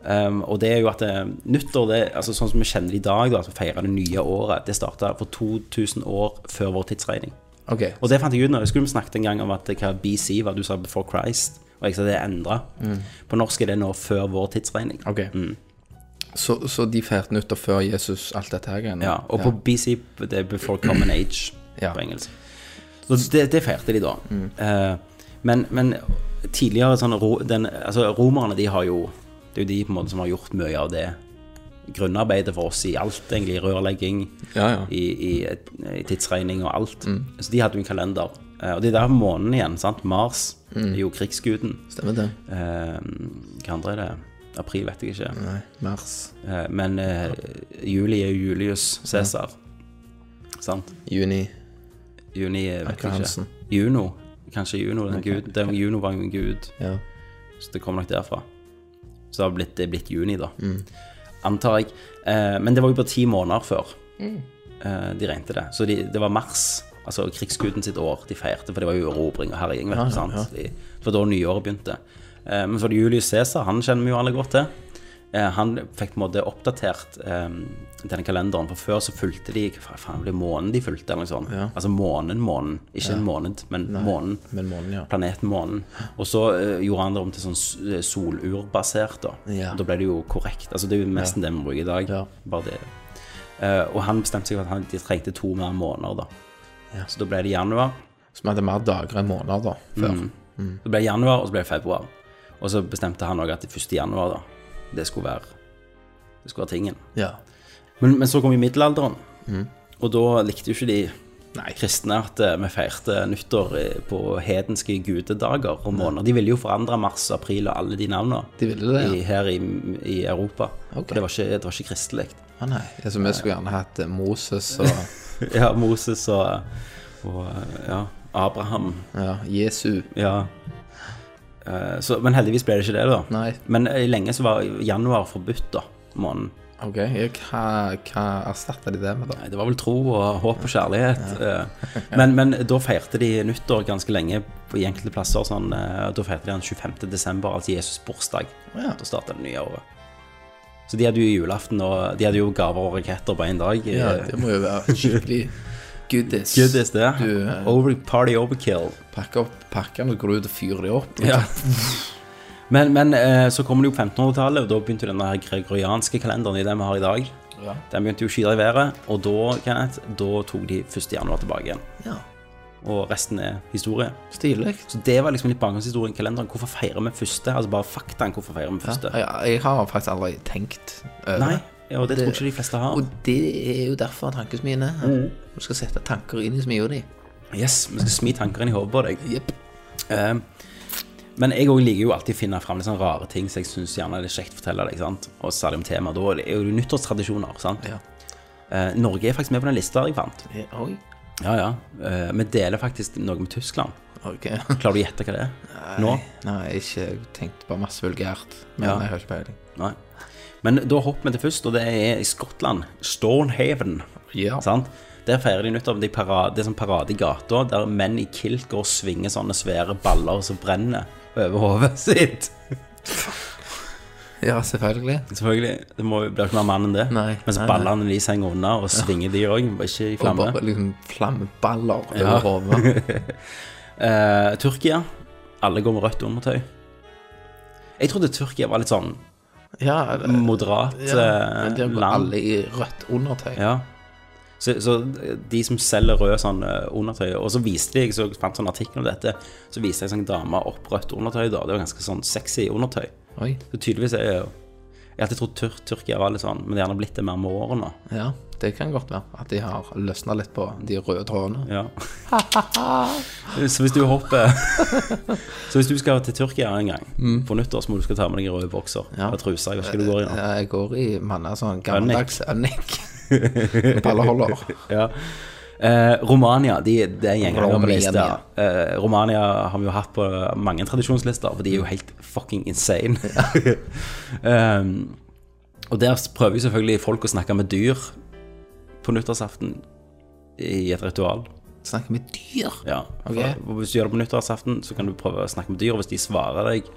S1: Um, og det er jo at eh, nyttår, det, altså sånn som vi kjenner det i dag, da, at vi feirer det nye året, det starta for 2000 år før vår tidsregning.
S5: Ok.
S1: Og det fant jeg ut når jeg skulle vi snakket en gang om at eh, hva BC var, du sa before Christ, og jeg sa det er endra. På norsk er det nå før vår tidsregning.
S5: Ok.
S1: Mm.
S5: Så, så de feirte nyttår før Jesus, alt dette her greiene?
S1: Ja, og på BC det er Before Common Age
S5: Ja.
S1: på engelsk. Så det, det feirte de da. Eh, men, men tidligere sånn ro, den, altså Romerne de har jo Det er jo de på en måte som har gjort mye av det grunnarbeidet for oss i alt, egentlig. i Rørlegging,
S5: Ja, ja.
S1: I, i, i tidsregning og alt. Så de hadde jo en kalender. Eh, og det er der månen igjen. sant? Mars er jo krigsguden.
S5: Stemmer det.
S1: Eh, hva andre er det? April vet jeg ikke.
S5: Nei, mars.
S1: Eh, Men eh, juli er jo Julius Cæsar. Sant?
S5: Juni.
S1: Juni er vet
S5: Aker
S1: jeg
S5: Hansen.
S1: ikke. Juno. Kanskje Juno den gud. Den, Juno var jo en gud,
S5: Ja.
S1: så det kom nok derfra. Så det har blitt, det er blitt juni, da. Antar jeg. Eh, men det var jo bare ti måneder før eh, de regnet det. Så de, det var mars, altså krigsguden sitt år, de feirte, for det var jo erobring og herjing. vet du, sant? De- Det var da nyåret begynte. Eh, men så var det Julius Cæsar, han kjenner vi jo alle godt til. Eh, han fikk på en måte oppdatert eh, denne kalenderen, for før så fulgte de Hva faen var det månen de fulgte? eller noe sånt. Altså månen, månen. Ikke en måned, men månen.
S5: Men månen, ja.
S1: Planeten månen. Og så eh, gjorde han det om til sånn s- eh, solurbasert. Da
S5: Ja.
S1: Da ble det jo korrekt. Altså Det er jo nesten det vi bruker i dag.
S5: Ja.
S1: Bare det. Eh, og han bestemte seg for at han, de trengte to mer måneder. da Så da ble det januar. Mm.
S5: Så vi hadde mer dager enn måneder da, før. Mm.
S1: Så ble det januar, og så ble det februar. Og så bestemte han òg at det 1. januar da det skulle være Det skulle være tingen.
S5: Ja.
S1: Men, men så kom jo middelalderen, og da likte jo ikke de
S5: Mm. Nei.
S1: kristne at eh, vi feirte nyttår eh, på hedenske gudedager og måneder. De ville jo forandre mars, april og alle de navnene
S5: De ville det, ja.
S1: i, her i, i Europa.
S5: Ok.
S1: For det var ikke, det var ikke kristelig.
S5: Ah, nei. Ja, så vi skulle gjerne hatt eh, Moses og
S1: Ja, Moses og, og eh, ja, Abraham.
S5: ja, Jesu.
S1: Ja. Eh, Så, men heldigvis ble det ikke det, da.
S5: Nei.
S1: Men eh, lenge så var januar forbudt, da. Måneden.
S5: Ok, ja, hva, hva erstatta de det med, da?
S1: Nei, det var vel tro og håp og kjærlighet. eh. Men, men da feirte de nyttår ganske lenge på- i enkelte plasser. Sånn, eh, da feirte de den 25. desember, altså Jesus' bursdag.
S5: Ja.
S1: Da starta det nye året. Så de hadde jo julaften, og de hadde jo gaver og raketter på én dag.
S5: Ja, det må jo være skikkelig goodies.
S1: Good is det.
S5: Du, eh,
S1: Over, party overkill.
S5: Pakke opp pakkene og går ut og fyrer de opp.
S1: Ja. Men, men eh, så kommer det jo 1500-tallet, og da begynte jo denne her gregorianske kalenderen i den vi har i dag.
S5: Ja.
S1: Den begynte jo å skyte i været, og da, Kenneth, da tok de 1. januar tilbake igjen.
S5: ja.
S1: Og resten er historie.
S5: Stilig.
S1: Så det var liksom litt bakgrunnshistorien i kalenderen. Hvorfor feirer vi første? Altså bare faktaen hvorfor feirer vi første?
S5: Jeg, jeg har faktisk aldri tenkt over
S1: Nei,
S5: det.
S1: ja, og det, tror ikke de fleste har.
S5: Og det er jo derfor tankesmien er her. Du skal sette tanker inn i smia di.
S1: Yes, vi skal smi tanker inn i hodet på deg.
S5: Jepp.
S1: Eh, men jeg òg liker jo alltid å finne fram litt sånne rare ting som jeg syns gjerne det er kjekt å fortelle deg. sant? Og særlig om tema. Da er det jo nyttårstradisjoner. sant?
S5: Ja.
S1: Eh, Norge er faktisk med på den lista jeg fant.
S5: Eh, Oi.
S1: Ja, ja. Eh, vi deler faktisk noe med Tyskland.
S5: Ok.
S1: Klarer du å gjette hva det er? Nå?
S5: Nei, ikke jeg tenkte bare masse vulgært. Men
S1: Ja.
S5: jeg har ikke peiling.
S1: Nei. Men da hopper vi til først, og det er i Skottland. Stornhaven.
S5: Ja.
S1: Sant? Der feirer de nyttår. De para- det er sånn parade i gata der menn i kilt går og svinger sånne svære baller som brenner over hodet sitt.
S5: Ja, selvfølgelig.
S1: Selvfølgelig. Det må jo blir ikke mer mann enn det.
S5: Nei,
S1: Mens
S5: nei, nei.
S1: ballene de henger unna, og svinger de òg, ikke i
S5: Og
S1: flamme.
S5: bare liksom flammeballer
S1: Ja.
S5: over hodet.
S1: Eh, Tyrkia. Alle går med rødt undertøy. Jeg trodde Tyrkia var litt sånn
S5: Ja,
S1: moderat
S5: ja.
S1: eh,
S5: Men der går
S1: land.
S5: alle i rødt undertøy.
S1: Ja. Så, så de som selger rød sånn eh, undertøy Og så viste de, jeg så fant sånn artikkel om dette, så viste jeg sånn dame opp rødt undertøy. da Det var ganske sånn sexy undertøy.
S5: Oi.
S1: Så tydeligvis er jeg jo Jeg har alltid trodd Tyr Tyrkia var litt sånn, men det har gjerne blitt det mer med årene.
S5: Ja, det kan godt være. At de har løsna litt på de røde trådene.
S1: Ja. så hvis du hopper Så hvis du skal til Tyrkia en gang på nyttår, så må du skal ta med deg en rød bokser
S5: Ja.
S1: og truse. Jeg vet ikke hva du går i nå.
S5: Ja, Jeg går i manna sånn gammeldags Annik. Balleholder.
S1: Ja. Eh, Romania de, det er en gjenganger på
S5: Romania.
S1: lista. Eh, Romania har vi jo hatt på mange tradisjonslister, for de er jo helt fucking insane. um, og der prøver jo selvfølgelig folk å snakke med dyr på nyttårsaften i et ritual.
S5: Snakker med dyr.
S1: Ja.
S5: Ok.
S1: For, hvis du gjør det på nyttårsaften, så kan du prøve å snakke med dyr, og hvis de svarer deg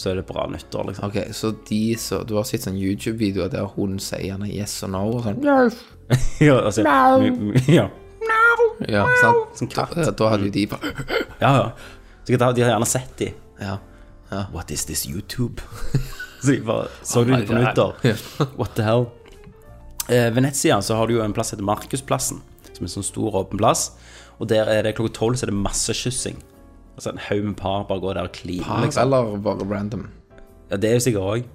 S1: så er det bra nyttår, liksom.
S5: Ok, så de så, Du har sett sånn YouTube-videoer der hun sier gjerne yes og no og sånn yes.
S1: ja, altså, m- m- ja.
S5: Ja, sant?
S1: Som katt.
S5: Da, da hadde jo de bare
S1: ja, ja. Så de har de har gjerne sett de.
S5: Ja.
S1: What is this YouTube? så de bare så du de på
S5: my
S1: nyttår.
S5: God.
S1: What the hell? Eh, Venezia så har du jo en plass som heter Markusplassen, som er en sånn stor åpen plass. Og der er det klokka tolv så er det masse kyssing. Altså en haug med par bare går der og kliner. Liksom.
S5: Eller bare random.
S1: Ja, det er jo sikkert òg.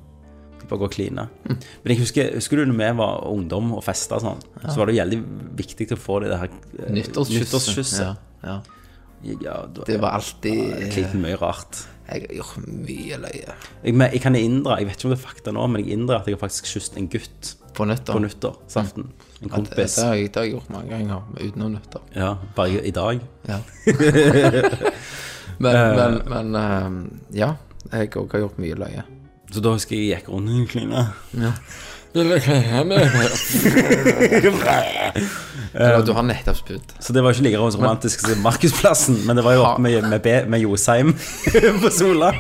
S1: De bare går og kliner.
S5: Hm.
S1: Men jeg husker, husker du når vi var ungdom og festa sånn, så var det jo veldig viktig å få det der eh,
S5: Nyttårskysset.
S1: nyttårskysset.
S5: Ja, ja.
S1: Ja, da-
S5: Det var alltid eh,
S1: Jeg klinte mye rart.
S5: Jeg har gjort mye løye
S1: Jeg, men jeg kan inndra, jeg vet ikke om det er fakta nå, men jeg inndra at jeg har faktisk kysset en gutt
S5: på nøtter.
S1: på nyttårsaften. En
S5: Mm. Det, det,
S1: kompis.
S5: har jeg, det har jeg gjort mange ganger, men utenom nøtter.
S1: Ja, bare i dag.
S5: Ja. men, men, men eh, ja. Jeg òg har gjort mye løye.
S1: Så da husker jeg jeg gikk rundt og klina.
S5: Eller du har nettopp spydd.
S1: Så det var ikke like romantisk som Markusplassen, men det var jo oppe med, med, B- med Josheim på Sola.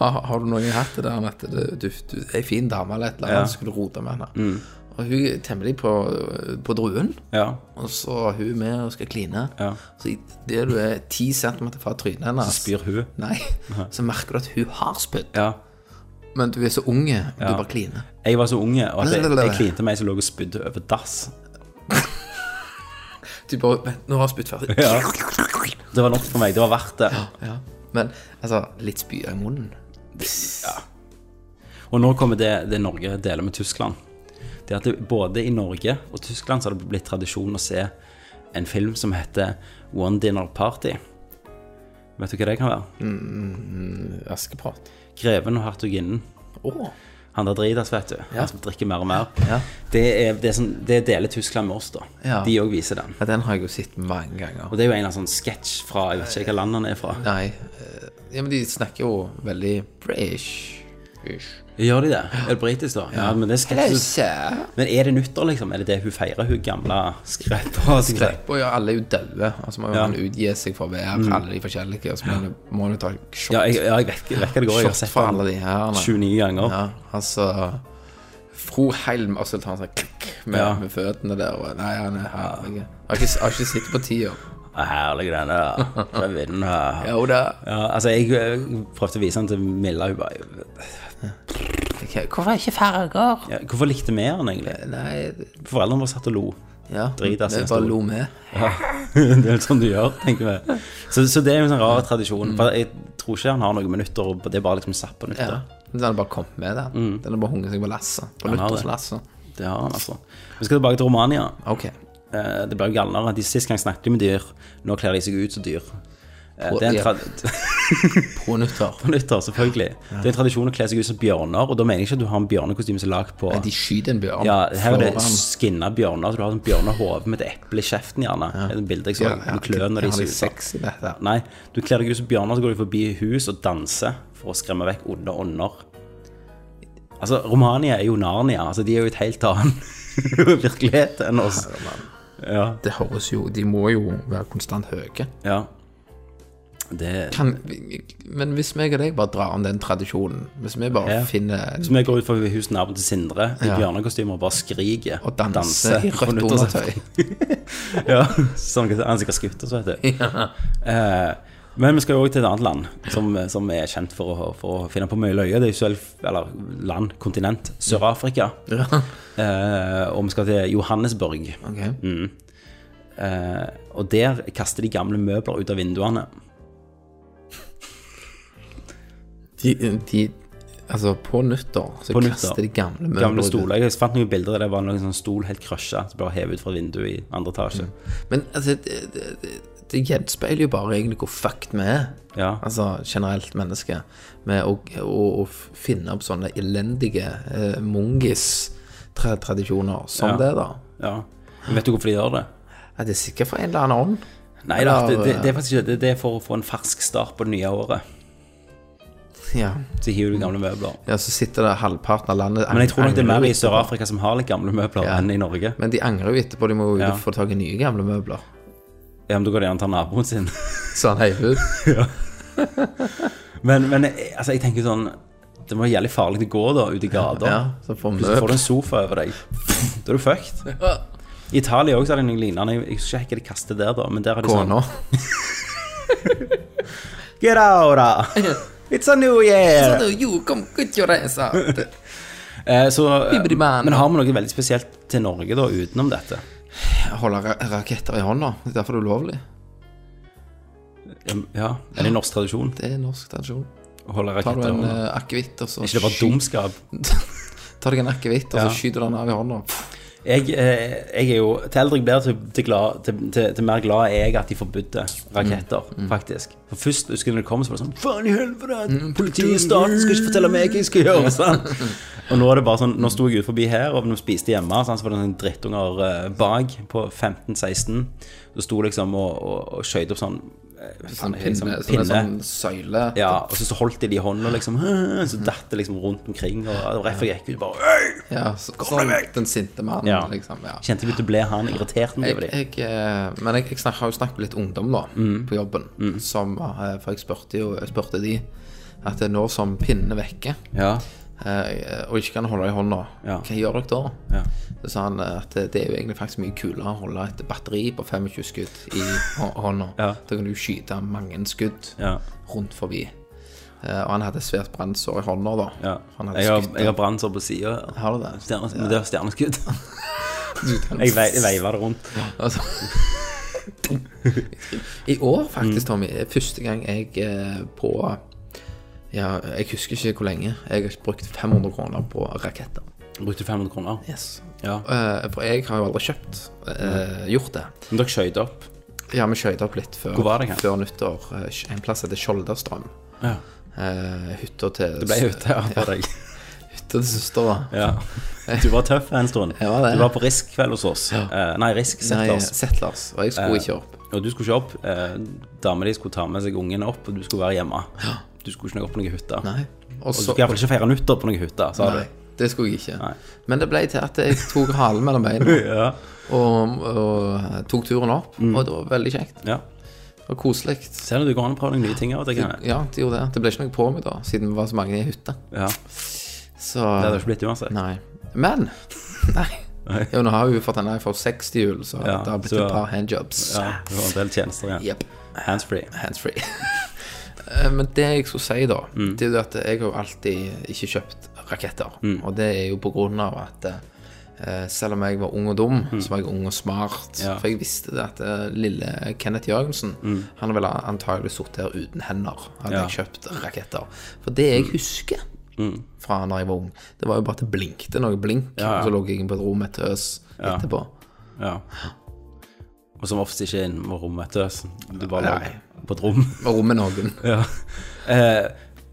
S5: Har, har du noen hatt det der at du, du, du er en fin dame eller et eller annet, så skulle du rote med henne. Og hun er temmelig på, på druen,
S1: Ja,
S5: og så er hun med og skal kline.
S1: Ja.
S5: Så idet du er ti centimeter fra trynet hennes,
S1: spyr hun.
S5: nei, så merker du at hun har spydd.
S1: Ja.
S5: Men du er så unge, og du bare kliner.
S1: Jeg var så unge, og at jeg, jeg klinte meg som lå og spydde over dass.
S5: Du bare Vent, nå har jeg spytt ferdig.
S1: Ja. Det var nok for meg. Det var verdt det.
S5: Ja. Men altså, litt spy i munnen.
S1: Og nå kommer det, det Norge deler med Tyskland. Det er at det, både i Norge og Tyskland så har det blitt tradisjon å se en film som heter One Dinner Party. Vet du hva det kan være?
S5: Askeprat.
S1: Greven og hertuginnen.
S5: Å.
S1: Han der dritas, vet du. Han som drikker mer og mer.
S5: Ja.
S1: Det, er, det, er sånn, det deler Tyskland med oss, da.
S5: Ja.
S1: De òg viser den.
S5: Ja, den har jeg jo sett mange ganger.
S1: Og det er jo en eller annen sånn sketsj fra Jeg vet ikke hva land han er fra.
S5: Nei, eh, ja, men de snakker jo veldig British.
S1: Gjør de det? Er det britisk, da? Ja, men det er sketsj.
S5: Helsa!
S1: Men er det nyttår, liksom? Er det det hun feirer, hun gamle skrepa?
S5: Og ja, alle er jo døde. Altså må jo
S1: Ja.
S5: man utgi seg for hver, alle de forskjellige. Og så må man- må man jo ta shot,
S1: Ja, jeg, ja, jeg vet, jeg vet hva det går. Jeg har
S5: shot
S1: sett
S5: for
S1: den
S5: alle de her. nei.
S1: 29 ganger.
S5: Ja, altså Fro Helm, og så tar han sånn klikk med,
S1: Ja.
S5: med føttene der. Og, nei, han er herlig. Jeg har ikke, jeg har ikke sittet på ti år.
S1: Ja, herlig den der. Så er vinden her.
S5: Jo da.
S1: Ja, altså, jeg eh, prøvde å vise den til Milla. Hun bare
S5: Ok, Hvorfor er det ikke farger?
S1: ja, Hvorfor likte vi den egentlig?
S5: Nei, det-
S1: Foreldrene våre satt og lo.
S5: ja.
S1: Drit, ass,
S5: Vi
S1: jeg
S5: bare
S1: sto.
S5: lo med.
S1: Ja, det er vel sånn du gjør, tenker vi. Så, så det er jo en sånn rar
S5: Mm.
S1: tradisjon. For jeg tror ikke han har noe med nyttår, og det er bare liksom satt på nyttår.
S5: Ja. Den har bare kommet med, den. Den har bare hunget seg på lasset. På
S1: Mm. Den har det.
S5: nyttårslasset.
S1: Det har han, altså. Vi skal tilbake til Romania.
S5: Ok.
S1: Eh, Det ble jo galnere. De Sist gang snakket de med dyr, nå kler de seg ut som dyr. Eh, Det er en
S5: Ja.
S1: trad-
S5: På nyttår.
S1: på nyttår, selvfølgelig. Det er en tradisjon å kle seg ut som bjørner, og da mener jeg ikke at du har en bjørnekostyme som er lagd på
S5: Nei, de skyter en bjørn.
S1: Ja, her er det
S5: foran.
S1: skinna bjørner, så du har sånn bjørnehove med et eple i kjeften, gjerne. Det er et bilde jeg så,
S5: Ja, ja,
S1: med klørne de
S5: har litt
S1: suser.
S5: sex i dette.
S1: Nei, du kler deg ut som bjørner, så går du forbi hus og danser for å skremme vekk onde ånder. Altså, Romania er jo Narnia. altså De er jo et helt annen virkelighet enn oss. Ja,
S5: Det høres jo De må jo være konstant høye.
S1: ja. Det
S5: Kan, men hvis meg og deg bare drar om den tradisjonen Hvis vi bare
S1: Ja.
S5: finner
S1: Så vi går ut forbi husnaboen til Sindre i
S5: Ja.
S1: bjørnekostymer og bare skriker.
S5: Og danser i rødt
S1: på nyttårsaften.
S5: undertøy.
S1: ja, sånn at han sikkert skutt oss, vet du. Eh, men vi skal jo også til et annet land som, eh, som er kjent for å, for å finne på mye løye. Det er jo selv, eller land, kontinent, Sør-Afrika. Eh, og vi skal til Johannesburg.
S5: Ok.
S1: Eh, og der kaster de gamle møbler ut av vinduene.
S5: De, de Altså, på nyttår så
S1: På nyttår.
S5: kaster de gamle møbler
S1: Gamle
S5: ut.
S1: stoler. Jeg fant noen bilder der det var noen sånn stol helt krøsja som ble hevet ut fra vinduet i andre etasje.
S5: Men altså, det, det, det- det gjenspeiler jo bare egentlig hvor fucked vi er.
S1: Ja.
S5: Altså generelt menneske. Med å, å, å finne opp sånne elendige eh, mungis-tradisjoner som
S1: Ja.
S5: det, da.
S1: ja. Men Vet du hvorfor de gjør det?
S5: Er det sikkert fra en eller annen ånd?
S1: Nei, det,
S5: Eller- eh,
S1: det, det er faktisk ikke det. Det er for å få en fersk start på det nye året.
S5: Ja.
S1: Så hiver du gamle møbler.
S5: ja, så sitter det halvparten av landet
S1: Men jeg tror nok det er mer i
S5: angrer jo etterpå.
S1: Sør-Afrika som har litt gamle møbler
S5: Ja.
S1: enn i Norge.
S5: Men de angrer jo etterpå, de må jo ut
S1: Ja.
S5: og få tak i nye gamle møbler.
S1: Ja, men da går det an å ta naboen sin.
S5: Så han heiv ut.
S1: Men, men eh, altså, jeg tenker sånn Det må være jævlig farlig å gå da, ute i gata.
S5: Ja, så får vi
S1: Plutselig får
S5: løp.
S1: du en sofa over deg. Da er du fucked. I Italia også er det noe lignende. Jeg jeg husker ikke hva de kaster der, da. Men der har de sånn
S5: Kona.
S1: Get out! da. It's a new year!
S5: Jo, kom, kutt your ass out.
S1: Eh, så, eh,
S5: Bibbidi man.
S1: men har vi noe veldig spesielt til Norge da, utenom dette?
S5: Holde ra- raketter i hånda. Det er derfor det er ulovlig.
S1: Ja, Er det norsk tradisjon
S5: Det er norsk tradisjon.
S1: å holde
S5: Tar du
S1: raketter? i
S5: en
S1: hånda?
S5: eh, akevitt, og så
S1: Ikke det var
S5: sky-
S1: dumskap?
S5: Tar deg en akevitt, og
S1: Ja.
S5: så skyter du den av i hånda.
S1: Jeg, eh, jeg er jo Til eldre jeg blir, til, til, glad, til, til, til mer glad er jeg at de forbudte raketter, faktisk. For først husker jeg når det kom, så var det sånn Faen i helvete! Politiet i staten skal ikke fortelle meg hva jeg skal gjøre! Sånn. Og nå er det bare sånn Nå sto jeg ut forbi her, og når vi spiste hjemme, sånn, så var det en drittunger eh, bak på 15-16. Så sto liksom og, og, og skjøt opp sånn eh,
S5: Sånn
S1: sånn,
S5: pinne.
S1: liksom,
S5: Sånn,
S1: pinne.
S5: en sånn søyle.
S1: Ja, og så, så holdt de det i hånda, liksom. Så datt det liksom rundt omkring. Og det var derfor jeg gikk ut bare «Øy!»
S5: Ja, så, sånn den sinte mannen,
S1: Ja.
S5: liksom. Ja.
S1: Kjente jeg begynte å bli han irritert meg over
S5: Jeg,
S1: det.
S5: jeg, eh, men jeg, jeg snak, har jo snakket med litt ungdom da,
S1: Mm.
S5: på jobben. Som, eh, for jeg spurte jo jeg spurte de at det er nå som pinnene vekker,
S1: Ja.
S5: eh, og ikke kan holde i hånda,
S1: Ja.
S5: hva gjør dere da?
S1: Ja.
S5: Så sa han eh, at det det er jo egentlig faktisk mye kulere å holde et batteri på 25 skudd i hå- hånda.
S1: Ja.
S5: Da kan du skyte mange skudd
S1: Ja.
S5: rundt forbi. Eh, og han hadde svært brannsår i hånda da.
S1: Ja.
S5: Han hadde
S1: Jeg har,
S5: skutt
S1: jeg har brannsår på sida.
S5: Har du det?
S1: Det er stjerneskudd. Jeg vei- jeg veiver det rundt.
S5: Altså. I år, faktisk, Tommy, er første gang jeg eh, på ja, Jeg husker ikke hvor lenge. Jeg har brukt 500 kroner på raketter.
S1: Brukte 500 kroner.
S5: Yes.
S1: Ja.
S5: for jeg har jo aldri kjøpt eh, gjort det.
S1: Men dere skøyt opp.
S5: Ja, vi skøyta opp litt før,
S1: Hvor var det hen?
S5: før nyttår. eh, En plass heter Skjolderstrøm.
S1: Ja.
S5: Uh, hytta til
S1: Det ble ute her på deg.
S5: Hytta til søstera.
S1: Ja. Du var tøff en stund.
S5: Jeg var det.
S1: Du var på Risk-kveld hos oss. Eh, Nei, Risk
S5: Nei,
S1: Setters.
S5: Settlers. Og jeg skulle ikke opp.
S1: Og du skulle ikke opp. Eh, Dama di skulle ta med seg ungene opp, og du skulle være hjemme. Du skulle ikke opp på noen hytte.
S5: Nei. Og
S1: Og du
S5: så
S1: skulle iallfall ikke feire nyttår på noen hytte, sa du.
S5: Nei, det skulle jeg ikke.
S1: Nei.
S5: Men det ble til at jeg tok halen mellom beina.
S1: Ja.
S5: og, og tok turen opp,
S1: Mm.
S5: og det var veldig kjekt.
S1: ja.
S5: Det var koselig.
S1: Ser du det går an å prøve noen nye ting av og til? Kenneth?
S5: Ja, det gjorde det. Det ble ikke noe på meg da, siden vi var så mange i hytta.
S1: Ja.
S5: Så
S1: Det hadde ikke blitt uansett.
S5: Nei. Men Nei. Jo, nå har hun fått en iPhone 6 til jul, så
S1: Ja,
S5: det har blitt
S1: så-
S5: et par handjobs.
S1: Ja, det var en del tjenester igjen.
S5: Jep.
S1: Handsfree.
S5: Handsfree. Eh, Men det jeg skulle si, da,
S1: Mm.
S5: det er jo at jeg har jo alltid ikke kjøpt raketter.
S1: Mm.
S5: Og det er jo på grunn av at eh, selv om jeg var ung og dum, så var jeg ung og smart.
S1: Mm. Ja. Mm.
S5: For jeg visste det at eh, lille Kenneth Jørgensen Han ville antagelig sittet her uten hender, hadde
S1: Ja. Mm.
S5: jeg kjøpt raketter. For det jeg husker fra da jeg var ung, det var jo bare at det blinkte noe blink,
S1: ja.
S5: og så lå jeg inne på et rom med et øs etterpå.
S1: Ja. Og som oftest ikke inn med rommet til oss. Du bare
S5: Nei.
S1: lå på et rom.
S5: Og rom med noen.
S1: Ja. Eh,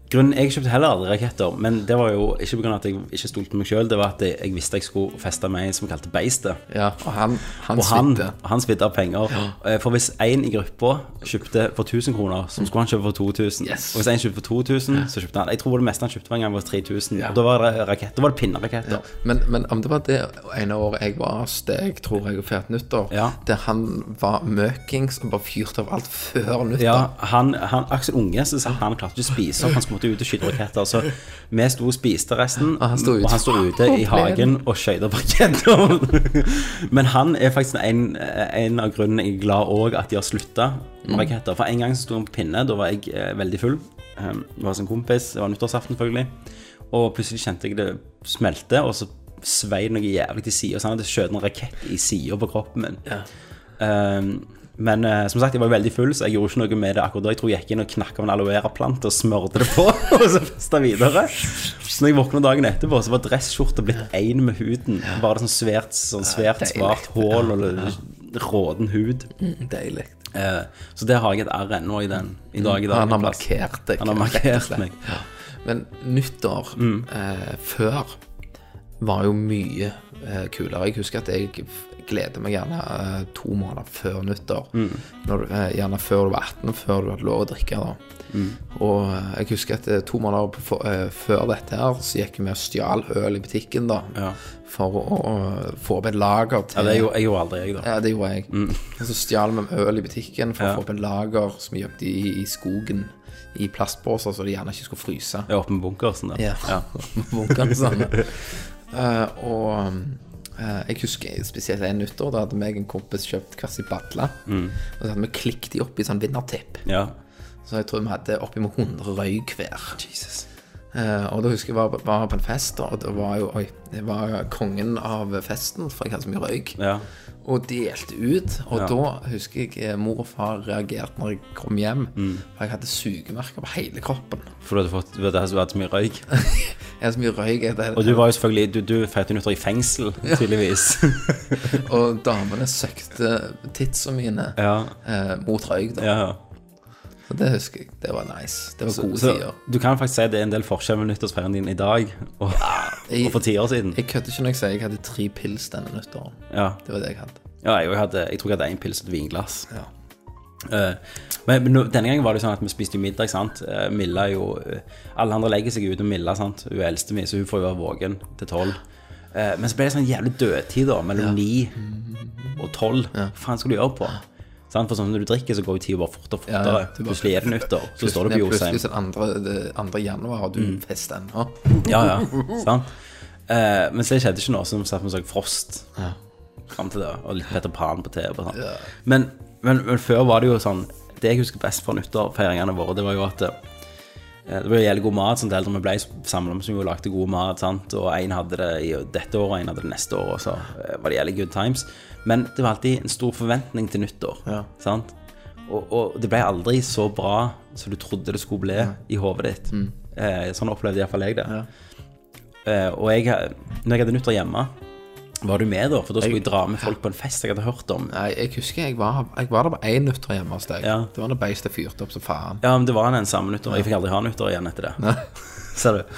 S1: grunnen, jeg kjøpte heller aldri raketter, men det var jo ikke pga. at jeg ikke stolte på meg sjøl, det var at jeg, jeg visste jeg skulle feste med en som kalte Beistet.
S5: Ja, og han, han
S1: Og han,
S5: svidde.
S1: han svidde av penger. Eh, For hvis én i gruppa kjøpte for 1000 kroner, så skulle han kjøpe for 2000.
S5: Yes.
S1: Og hvis én kjøpte for 2000, så kjøpte han Jeg tror det meste han kjøpte var en gang var 3000. Og da var det rakett, da var det pinneraketter.
S5: Men, men om det var det ene året jeg var steg, tror jeg, og feiret nyttår,
S1: Ja.
S5: der han var møkings og bare fyrte av alt før nyttår.
S1: Ja, han, han, Aksel Unge så sa han klarte ikke å spise opp, han skulle måtte ut og skyte raketter. Så vi sto og spiste resten,
S5: Og han sto ute.
S1: og han sto ute i hagen og skøyt opp raketter. Men han er faktisk en, en av grunnene jeg er glad òg at de har slutta
S5: Mm.
S1: med raketter. For en gang så sto han på pinne, da var jeg eh, veldig full. Um, Det var hos en kompis, det var nyttårsaften selvfølgelig. Og plutselig kjente jeg det smelte, og så svei det noe jævlig til sida. Så han hadde skjøt en rakett i sida på kroppen min. Um, men eh, som sagt, jeg var jo veldig full, så jeg gjorde ikke noe med det akkurat da. Jeg tror jeg gikk inn og knakk av en aloe vera-plante og smørte det på. og så festa videre. Så når jeg våkna dagen etterpå, så var dressskjorta blitt én med huden. Bare sånn svært, sånn svært
S5: deilig.
S1: svart hull og råden hud.
S5: Mm, Deilig.
S1: Eh, så der har jeg et R ennå i den i dag. I dag
S5: Han har
S1: plass.
S5: markert deg.
S1: Han har
S5: rett og
S1: markert
S5: slett.
S1: meg. Mm.
S5: Ja. Men nyttår eh, før var jo mye eh, kulere. Jeg husker at jeg gleder meg gjerne eh, to måneder før nyttår.
S1: Mm.
S5: Når, du- eh, gjerne før du var 18, før du hadde lov å drikke. da.
S1: Mm.
S5: Og eh, jeg husker at eh, to måneder på, for, eh, før dette her, så gikk vi og stjal øl i butikken da.
S1: Ja.
S5: For å, å få opp et lager til
S1: Ja, det gjorde, jeg gjorde aldri jeg, da.
S5: ja, det gjorde jeg. Og Så stjal vi øl i butikken for å få opp en lager som vi gjemte i, i skogen i plastbåser, så de gjerne ikke skulle fryse.
S1: Jeg var oppe med bunkersen der.
S5: Ja.
S1: Ja.
S5: Bunkene sånne. Eh, og eh, jeg husker spesielt en nyttår, da hadde meg og en kompis kjøpt hver sin badle. Og så hadde vi klikket de opp i sånn vinnertipp.
S1: ja.
S5: Så jeg tror vi hadde oppimot 100 røy hver. Eh, og da husker jeg var, var på en fest, da, og det var jo Oi, det var kongen av festen, for jeg hadde så mye røyk
S1: ja.
S5: og delte ut. Og
S1: Ja.
S5: da husker jeg eh, mor og far reagerte når jeg kom hjem.
S1: Mm.
S5: For jeg hadde sugemerker på hele kroppen.
S1: For du hadde fått du hadde hatt så mye røyk.
S5: Jeg hadde så mye røyk. jeg hadde-
S1: Og du var jo selvfølgelig Du, du feirte nyttår i fengsel, tydeligvis.
S5: Og damene søkte titsa mine
S1: Ja.
S5: eh, mot røyk. Da.
S1: ja, ja.
S5: Så det husker jeg. Det var nice. Det var gode
S1: Så
S5: tider.
S1: du kan faktisk si det er en del forskjell med nyttårsfeiren din i dag og, og for ti år siden.
S5: Jeg kødder ikke når jeg sier jeg hadde tre pils denne nyttåren.
S1: Ja.
S5: Det var det jeg hadde.
S1: Ja, jeg, også hadde, jeg tror jeg hadde én pils og et vinglass.
S5: Ja.
S1: Eh, men men nå- denne gangen var det jo sånn at vi spiste jo middag, sant. Eh, Milla er jo eh, Alle andre legger seg ut, og Milla, sant. Hun er eldste mi, så hun får jo være våken til tolv. Eh, men så ble det sånn jævlig dødtid, da. Mellom ni og tolv. Hva faen skal du gjøre på? Sant? For sånn når du drikker, så går jo tida bare fortere og
S5: Ja, ja,
S1: fortere.
S5: det bare-
S1: Plutselig er det nyttår. Så står du på
S5: Plutselig-
S1: Jorsheim.
S5: Plutselig så den andre, det andre januar, og du mm. fest ennå.
S1: Ja, ja, sant Eh, Men så det skjedde ikke noe som satt vi så frost Frem til det, og litt Peter Pan på TV og sånn. men, men, men før var det jo sånn Det jeg husker best fra nyttårfeiringene våre Det var jo at eh, det ble jævlig god mat, sånn at eldre vi ble samlet om som jo lagde god mat, sant? og en hadde det i dette året, og en hadde det neste år, og så eh, var det jævlig good times. Men det var alltid en stor forventning til nyttår, sant? Og, og det ble aldri så bra som du trodde det skulle bli i hovedet ditt. Eh, sånn opplevde i hvert fall jeg det. Eh, og jeg, når jeg hadde nyttår hjemme, var du med da? For da skulle jeg dra med folk på en fest jeg hadde hørt om.
S5: Nei, jeg husker jeg var, jeg var der på én nyttår hjemme hos deg.
S1: Ja.
S5: Det var da beistet fyrte opp som faen.
S1: Ja, men det var den samme nyttår. Jeg fikk aldri ha nyttår igjen etter det. Ser du?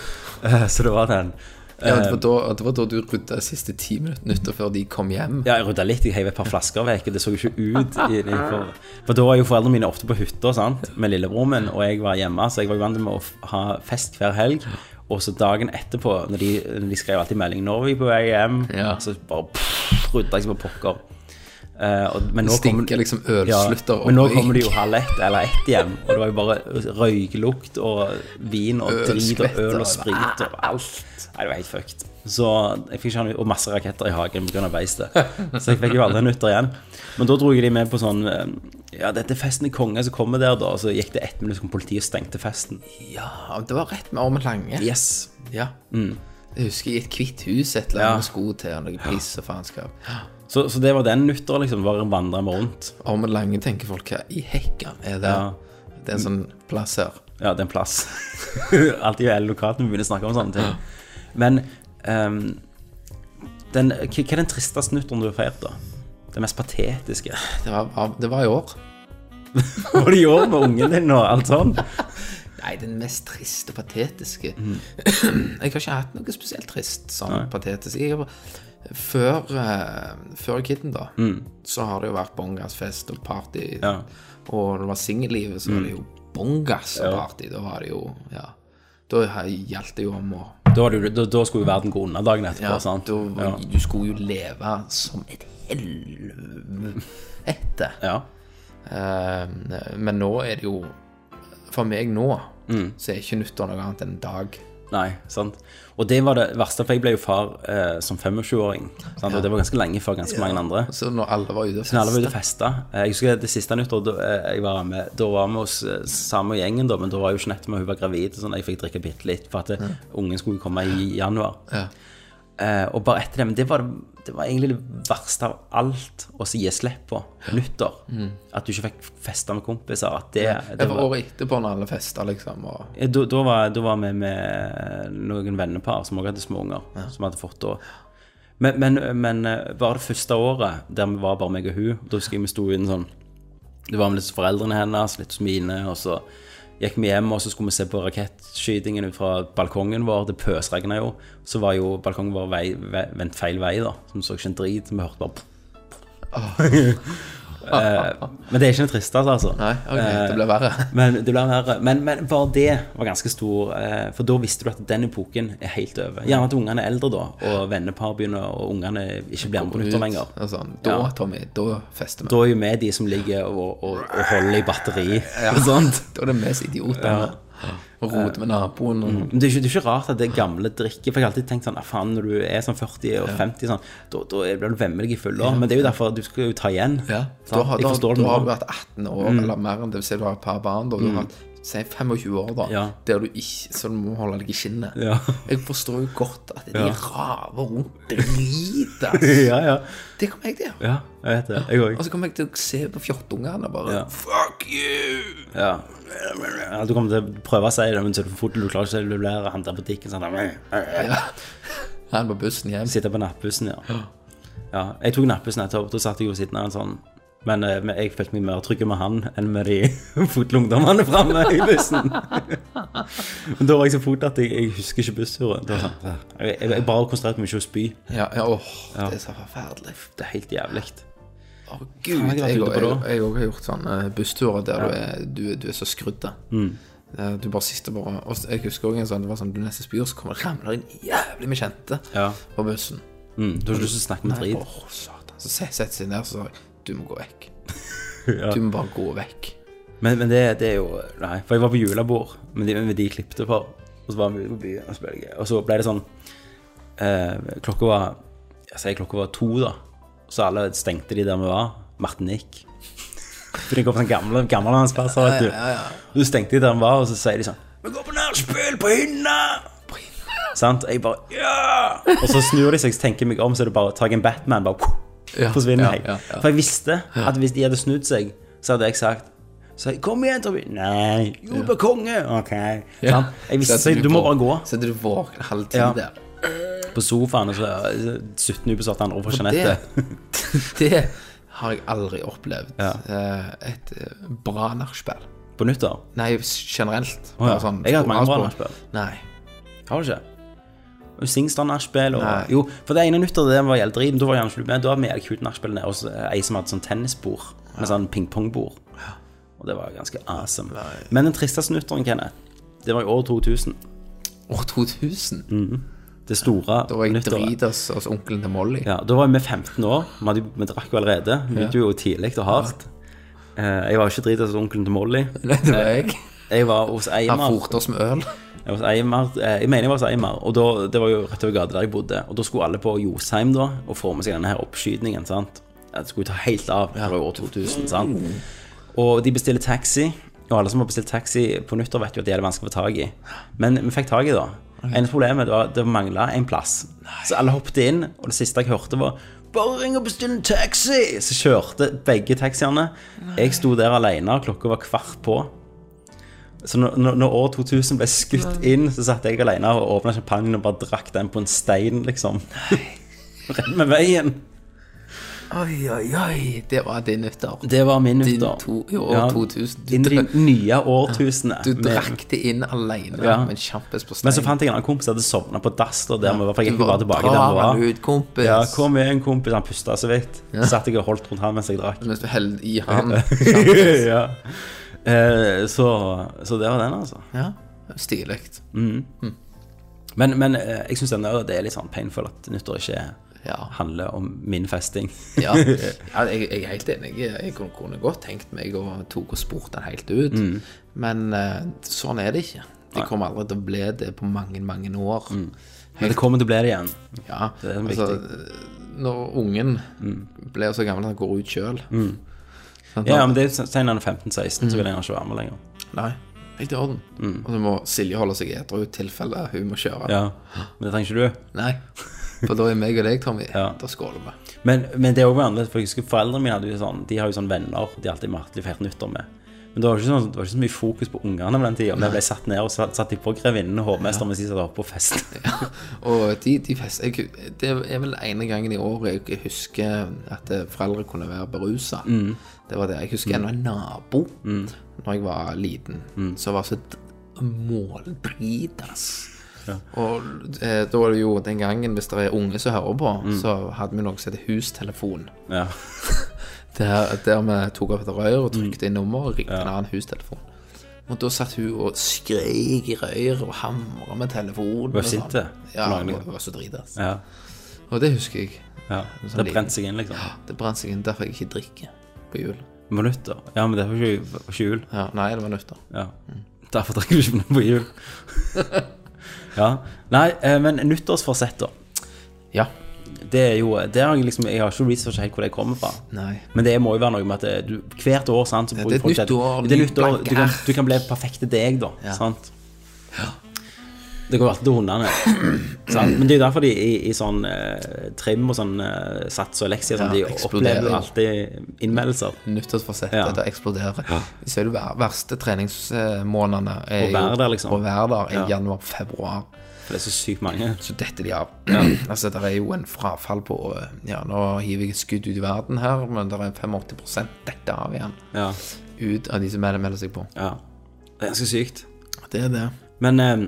S1: Eh, så det var den.
S5: Ja, det, var
S1: Ehm.
S5: da, det var da du rydda de siste ti minuttene nytter før de kom hjem.
S1: Ja, jeg rydda litt, jeg heiv et par flasker vekk. og Det så jo ikke ut. i- For, for da var jo foreldrene mine ofte på hytta sant, med lillebroren min, og jeg var hjemme, så jeg var jo vant med å f- ha fest hver helg. Og så dagen etterpå, når de, når de skrev alltid melding 'Når er vi på vei hjem',
S5: Ja.
S1: så bare pff, rydda jeg som på pokker. Eh, og, men nå
S5: Stinker
S1: kommer-
S5: liksom ølslutter og
S1: men nå
S5: røyk.
S1: kommer det jo halv ett eller ett hjem, og det var jo bare røyklukt og vin og drit og øl og Ah. sprit og alt. Nei, det var helt fucked. Så jeg fikk ikke ha noe- og masse raketter i hagen pga. beistet. Så jeg fikk jo aldri nytter igjen. Men da dro jeg de med på sånn eh, Ja, dette er festen i Konge som kommer der, da. Og så gikk det ett minutt, så kom politiet og stengte festen.
S5: Ja, det var rett med Ormen Lange.
S1: Yes.
S5: Ja.
S1: Mm.
S5: Jeg husker i et hvitt hus et eller annet med sko til og noe piss og faenskap.
S1: Så, så det var den nyttår, liksom. Bare vandra meg rundt.
S5: Ormen Lange tenker folk hva i hekken er det?
S1: Ja.
S5: Det er en sånn plass her.
S1: Ja, det er en plass. Alltid jo hele lokalt når vi begynner å snakke om sånne ting. Men ehm, den, hva hva er den tristeste nyttåren du har feiret, da? Det mest patetiske?
S5: Det var, var- det var i år.
S1: Hva du gjorde med ungen din og alt sånn?
S5: Nei, den mest triste og patetiske
S1: Mm.
S5: Jeg har ikke hatt noe spesielt trist sånn patetisk. Jeg, har- før, eh, før Kidden, da, så har det jo vært bongasfest og party.
S1: Mm. Ja. Mm.
S5: Og når det var singellivet, så var det jo bongas og party. Da var det jo Ja. Da har- gjaldt det jo om å
S1: Da, var det jo- da, da skulle jo verden gå unna dagen etterpå,
S5: ja,
S1: sant?
S5: da,
S1: ja.
S5: Du skulle jo leve som et helvete.
S1: ja.
S5: Eh, men nå er det jo For meg nå
S1: Mm.
S5: så er ikke nyttår noe annet enn en dag.
S1: Nei, sant. Og det var det verste, for jeg ble jo far eh, som 25-åring. sant? Og det var ganske lenge før ganske mange andre.
S5: Så når alle var ute og
S1: Når alle var ute
S5: festet
S1: og festa. Eh, Jeg husker det siste nyttår da eh, jeg var med, da var vi hos eh, samme gjengen, da, men da var jo Jeanette med, hun var gravid, og sånn, jeg fikk drikke bitte litt for at eh, ungen skulle jo komme i januar. Eh, og bare etter det, men det var, det var egentlig det verste av alt å si gi slipp på nyttår. At du ikke fikk festa med kompiser. At det,
S5: Det
S1: det
S5: var
S1: var,
S5: året etterpå når alle festa, liksom. Og
S1: Eh, da, da, var, da var vi med noen vennepar som også hadde små unger, som hadde fått da. Men, men, men eh, var det første året der vi var bare meg og hun, da husker jeg vi sto inn sånn Det var med litt hos foreldrene hennes, litt hos mine, og så gikk vi hjem, og så skulle vi se på rakettskytingen ut fra balkongen vår. Det pøsregna jo. Så var jo balkongen vår vei, vei, vendt feil vei, da, så vi så ikke en drit. Vi hørte bare Eh, men det er ikke det tristeste, altså.
S5: Nei, ok, det ble verre.
S1: Men, det ble verre. men, men bare det var ganske stor, eh, for da visste du at den epoken er helt over. Gjerne at ungene er eldre da, og vennepar begynner, og ungene ikke blir med på nytter lenger.
S5: Og sånn, da,
S1: Ja.
S5: Tommy, da fester vi.
S1: Da er jo vi de som ligger og, og, og holder i batteri og sånt.
S5: Da er det mest idioter. Og roter med naboen. Og,
S1: Men det er, ikke, det er ikke rart at det gamle drikker. For jeg har alltid tenkt sånn ah, faen, når du er sånn 40 og 50, sånn, da, da er- blir du vemmelig i fulle år. Men det er jo derfor du skal jo ta igjen.
S5: Ja.
S1: Sant?
S5: Da, har-
S1: jeg
S5: da,
S1: forstår det
S5: da har du
S1: nå. Mm.
S5: vært 18 år eller mer enn det, hvis du har et par barn. Da, du har hatt si 25 år da,
S1: Ja.
S5: der du ikke, så du må holde deg i skinnet.
S1: Ja.
S5: Jeg forstår jo godt at de raver rundt driter.
S1: Ja, ja.
S5: Det kommer jeg til å gjøre.
S1: ja, jeg vet det. Jeg
S5: Og
S1: òg.
S5: så kommer jeg til å se på fjottungene og bare
S1: Ja.
S5: Fuck you!
S1: Ja. Ja, Du kommer til å prøve å si det, men så er du for fort, du klarer ikke det. Du blir han der på butikken sånn
S5: Han på bussen hjem.
S1: Sitte på nattbussen, ja. ja. Jeg tok nattbussen nettopp, da satt jeg jo ved siden av en sånn. Men eh, men jeg følte meg mer trygg med han enn med de fotlungdommene framme i bussen. Men da var jeg så fot at jeg, jeg husker ikke bussturen. Det var sånn, Jeg, jeg, jeg bare konsentrerte meg ikke om å spy.
S5: Ja, ja, åh, det er så forferdelig.
S1: Det er helt jævlig.
S5: Å, gud,
S1: jeg
S5: jeg
S1: har vært ute på da.
S5: jeg òg har gjort sånne bussturer der du, er, du, er- du er så skrudd. da.
S1: Mm.
S5: Eh, Du bare sitter bare og Jeg husker også en sånn, det var sånn du nesten spyr, så kommer det ramler inn jævlig med kjente
S1: Ja.
S5: på bussen.
S1: Mm, du har ikke lyst til å snakke med
S5: Nei,
S1: drit.
S5: åh, satan. Så se- setter seg ned og sier du må gå vekk.
S1: Ja.
S5: Du må bare gå vekk.
S1: Men, men det, det er jo Nei, for jeg var på julebord med de, med de jeg klippte for. Og så var vi ute på byen og spilte. Og så ble det sånn eh, Klokka var Jeg sier klokka var to, da. Og så alle stengte de der vi var. Martinique. For de kom på sånn gamle gammellandsplasser, vet du. Og så stengte de der vi var, og så sier de sånn Vi går på nachspiel på Hynna! Sant? Og jeg bare Ja! Og så snur de seg, så tenker jeg meg om, så er det bare tak i en Batman. Bare
S5: Ja,
S1: forsvinner
S5: ja,
S1: jeg.
S5: ja, ja.
S1: For jeg visste at hvis de hadde snudd seg, så hadde jeg sagt så jeg, Kom igjen, Tommy. Nei. Jo, bare konge. Ok. Sant? Jeg visste,
S5: Setter
S1: så jeg, du må
S5: på-
S1: bare gå.
S5: Setter du våken halv ti
S1: Ja.
S5: der.
S1: På sofaen, og så er 17 ubesatte andre fra
S5: Det,
S1: Jeanette.
S5: det har jeg aldri opplevd.
S1: Ja.
S5: Eh, Et eh, bra nachspiel.
S1: På nyttår.
S5: Nei, generelt.
S1: Å ja.
S5: Bare sånn-
S1: Jeg har hatt mange bra
S5: avspor.
S1: nachspiel.
S5: Nei.
S1: Har du ikke? Og Singstar nachspiel og
S5: Nei.
S1: Jo, for det ene nyttet det var jævlig drit, men da var jeg gjerne ikke med. Da hadde vi jævlig kult nachspiel nede hos eh, ei som hadde sånn tennisbord, med sånn pingpongbord. Og det var ganske awesome. Men den tristeste nytteren, Kenneth, det var i år 2000.
S5: År 2000?
S1: Mm. Det store
S5: Da var jeg
S1: nyttåret.
S5: dritas hos onkelen til Molly.
S1: Ja, da var vi 15 år. Vi, hadde, jo- vi drakk jo allerede. Vi begynte jo tidlig og hardt. Eh, Jeg var jo ikke dritas hos onkelen til Molly.
S5: Nei, det var jeg.
S1: Jeg var hos
S5: Han
S1: Eimar.
S5: forte oss med øl.
S1: Jeg, var hos Eimar. eh, jeg mener jeg var hos Eimar, og da, det var jo rett over gata der jeg bodde. Og da skulle alle på Josheim da, og få med seg denne her oppskytningen. sant? Ja, Det skulle ta helt av fra år 2000. sant? Og de bestiller taxi, og alle som har bestilt taxi på nyttår, vet jo at det er vanskelig å få tak i. Men vi fikk tak i det. Eneste problemet var at det mangla en plass. Så alle hoppet inn, og det siste jeg hørte, var bare ring og bestill en taxi! Så kjørte begge taxiene. Jeg sto der alene, og klokka var kvart på. Så når, når, når år 2000 ble skutt inn, så satt jeg alene og åpna champagnen og bare drakk den på en stein, liksom. Rett med veien.
S5: Oi, oi, oi. Det var din nyttår.
S1: Det var min
S5: Din
S1: nyttår.
S5: to- i år 2000. Du
S1: Inn i
S5: drakk-
S1: de nye årtusenet.
S5: Du
S1: Men-
S5: drakk det inn alene
S1: Ja.
S5: med en kjampis på
S1: Men så
S5: stein.
S1: fant jeg en annen kompis som hadde sovna på dass. da, der vi var, for jeg
S5: Du
S1: gikk jo bare tilbake der
S5: drar
S1: vi var.
S5: han ut, kompis.
S1: Ja, kom igjen, kompis. Han pusta så vidt. Så satt jeg og holdt rundt han mens jeg drakk.
S5: Mens du heller i han.
S1: ja. eh, så, så det var den, altså.
S5: Ja, Stilig.
S1: Mm. Men, men eh, jeg syns det er litt sånn painful at nyttår ikke
S5: Ja.
S1: handler om min festing.
S5: Ja, ja jeg, jeg er helt enig. Jeg kunne, kunne godt tenkt meg å tok og spurt den helt ut.
S1: Mm.
S5: Men eh, sånn er det ikke. Det kommer aldri til å bli det på mange, mange år.
S1: Men det kommer til å bli det igjen.
S5: Ja,
S1: Mm. Det er Mm.
S5: altså Når ungen blir så gammel at han går ut sjøl
S1: Ja, ja, men det er jo senere enn 15-16, så vil jeg gjerne ikke være med lenger.
S5: Nei, helt i orden. Og så må Silje holde seg edru i tilfelle hun må kjøre.
S1: Mm. Ja, Men det trenger ikke du.
S5: Nei. For da er meg og deg, Tommy,
S1: Ja.
S5: da skåler vi.
S1: Men, men det er også annerledes, for jeg husker foreldrene mine hadde jo sånn, de har jo sånn venner de alltid merkelig feirer nyttår med. Men det var, ikke sånn, det var ikke så mye fokus på ungene på den tida. Vi ble satt ned og satt, satt de på grevinnen og hovmesteren mens de satt oppe og festet.
S5: Og de, de fest, jeg, det er vel ene gangen i året jeg husker at eh, foreldre kunne være berusa.
S1: Mm.
S5: Det var det. Jeg husker ennå en nabo,
S1: Mm.
S5: Når jeg var liten, som var så d- måldritas. Og eh, da er det jo den gangen, hvis det er unge som hører på,
S1: Mm.
S5: så hadde vi noe som heter hustelefon.
S1: Ja.
S5: Der, der vi tok opp et rør
S1: Mm.
S5: og trykte inn nummer og ringte en annen hustelefon. Og da satt hun og skrek i røret og hamra med telefonen.
S1: Var
S5: og
S1: sint, eh,
S5: sånn.
S1: det?
S5: Ja,
S1: Lagde-
S5: hun var- hun var så dritas.
S1: ja.
S5: Og det husker jeg.
S1: ja.
S5: Sånn
S1: Det
S5: liten.
S1: brente seg inn, liksom.
S5: Det brant seg inn derfor jeg ikke drikker på jul.
S1: Minutter. Ja, men det var ikke, var ikke jul.
S5: Ja, nei, det var nyttår.
S1: Ja. Derfor drakk du ikke noe på jul. ja. Nei, eh, men nyttårsforsett, da.
S5: Ja.
S1: Det er jo det har jeg, liksom, jeg har ikke researcha helt hvor det kommer fra.
S5: Nei.
S1: Men det må jo være noe med at det, du, hvert år sant, så
S5: Ja,
S1: bruker
S5: det er et
S1: folk
S5: nytt år,
S1: det er
S5: ny
S1: nytt år
S5: blanke
S1: du, kan,
S5: ark.
S1: du kan bli perfekte deg, da.
S5: Ja.
S1: Sant? Det går jo alltid til hundene. sant? Men det er jo derfor de i, i sånn eh, trim og sånn eh, sats og leksia sånn,
S5: Ja,
S1: De opplever
S5: eksploderer.
S1: jo alltid innmeldelser.
S5: Nyttårsforsettet
S1: Ja.
S5: det eksploderer. Så er det ver- verste treningsmånedene er
S1: Å være der, liksom.
S5: Å være der i
S1: Ja.
S5: januar-februar.
S1: For det er så sykt mange.
S5: Så detter de av. altså, det er jo en frafall på eh, Ja, nå hiver jeg et skudd ut i verden her, men det er 85 dette av igjen.
S1: Ja.
S5: Ut av de som melder, melder seg på.
S1: ja. Det er ganske sykt.
S5: Det er det.
S1: Men eh,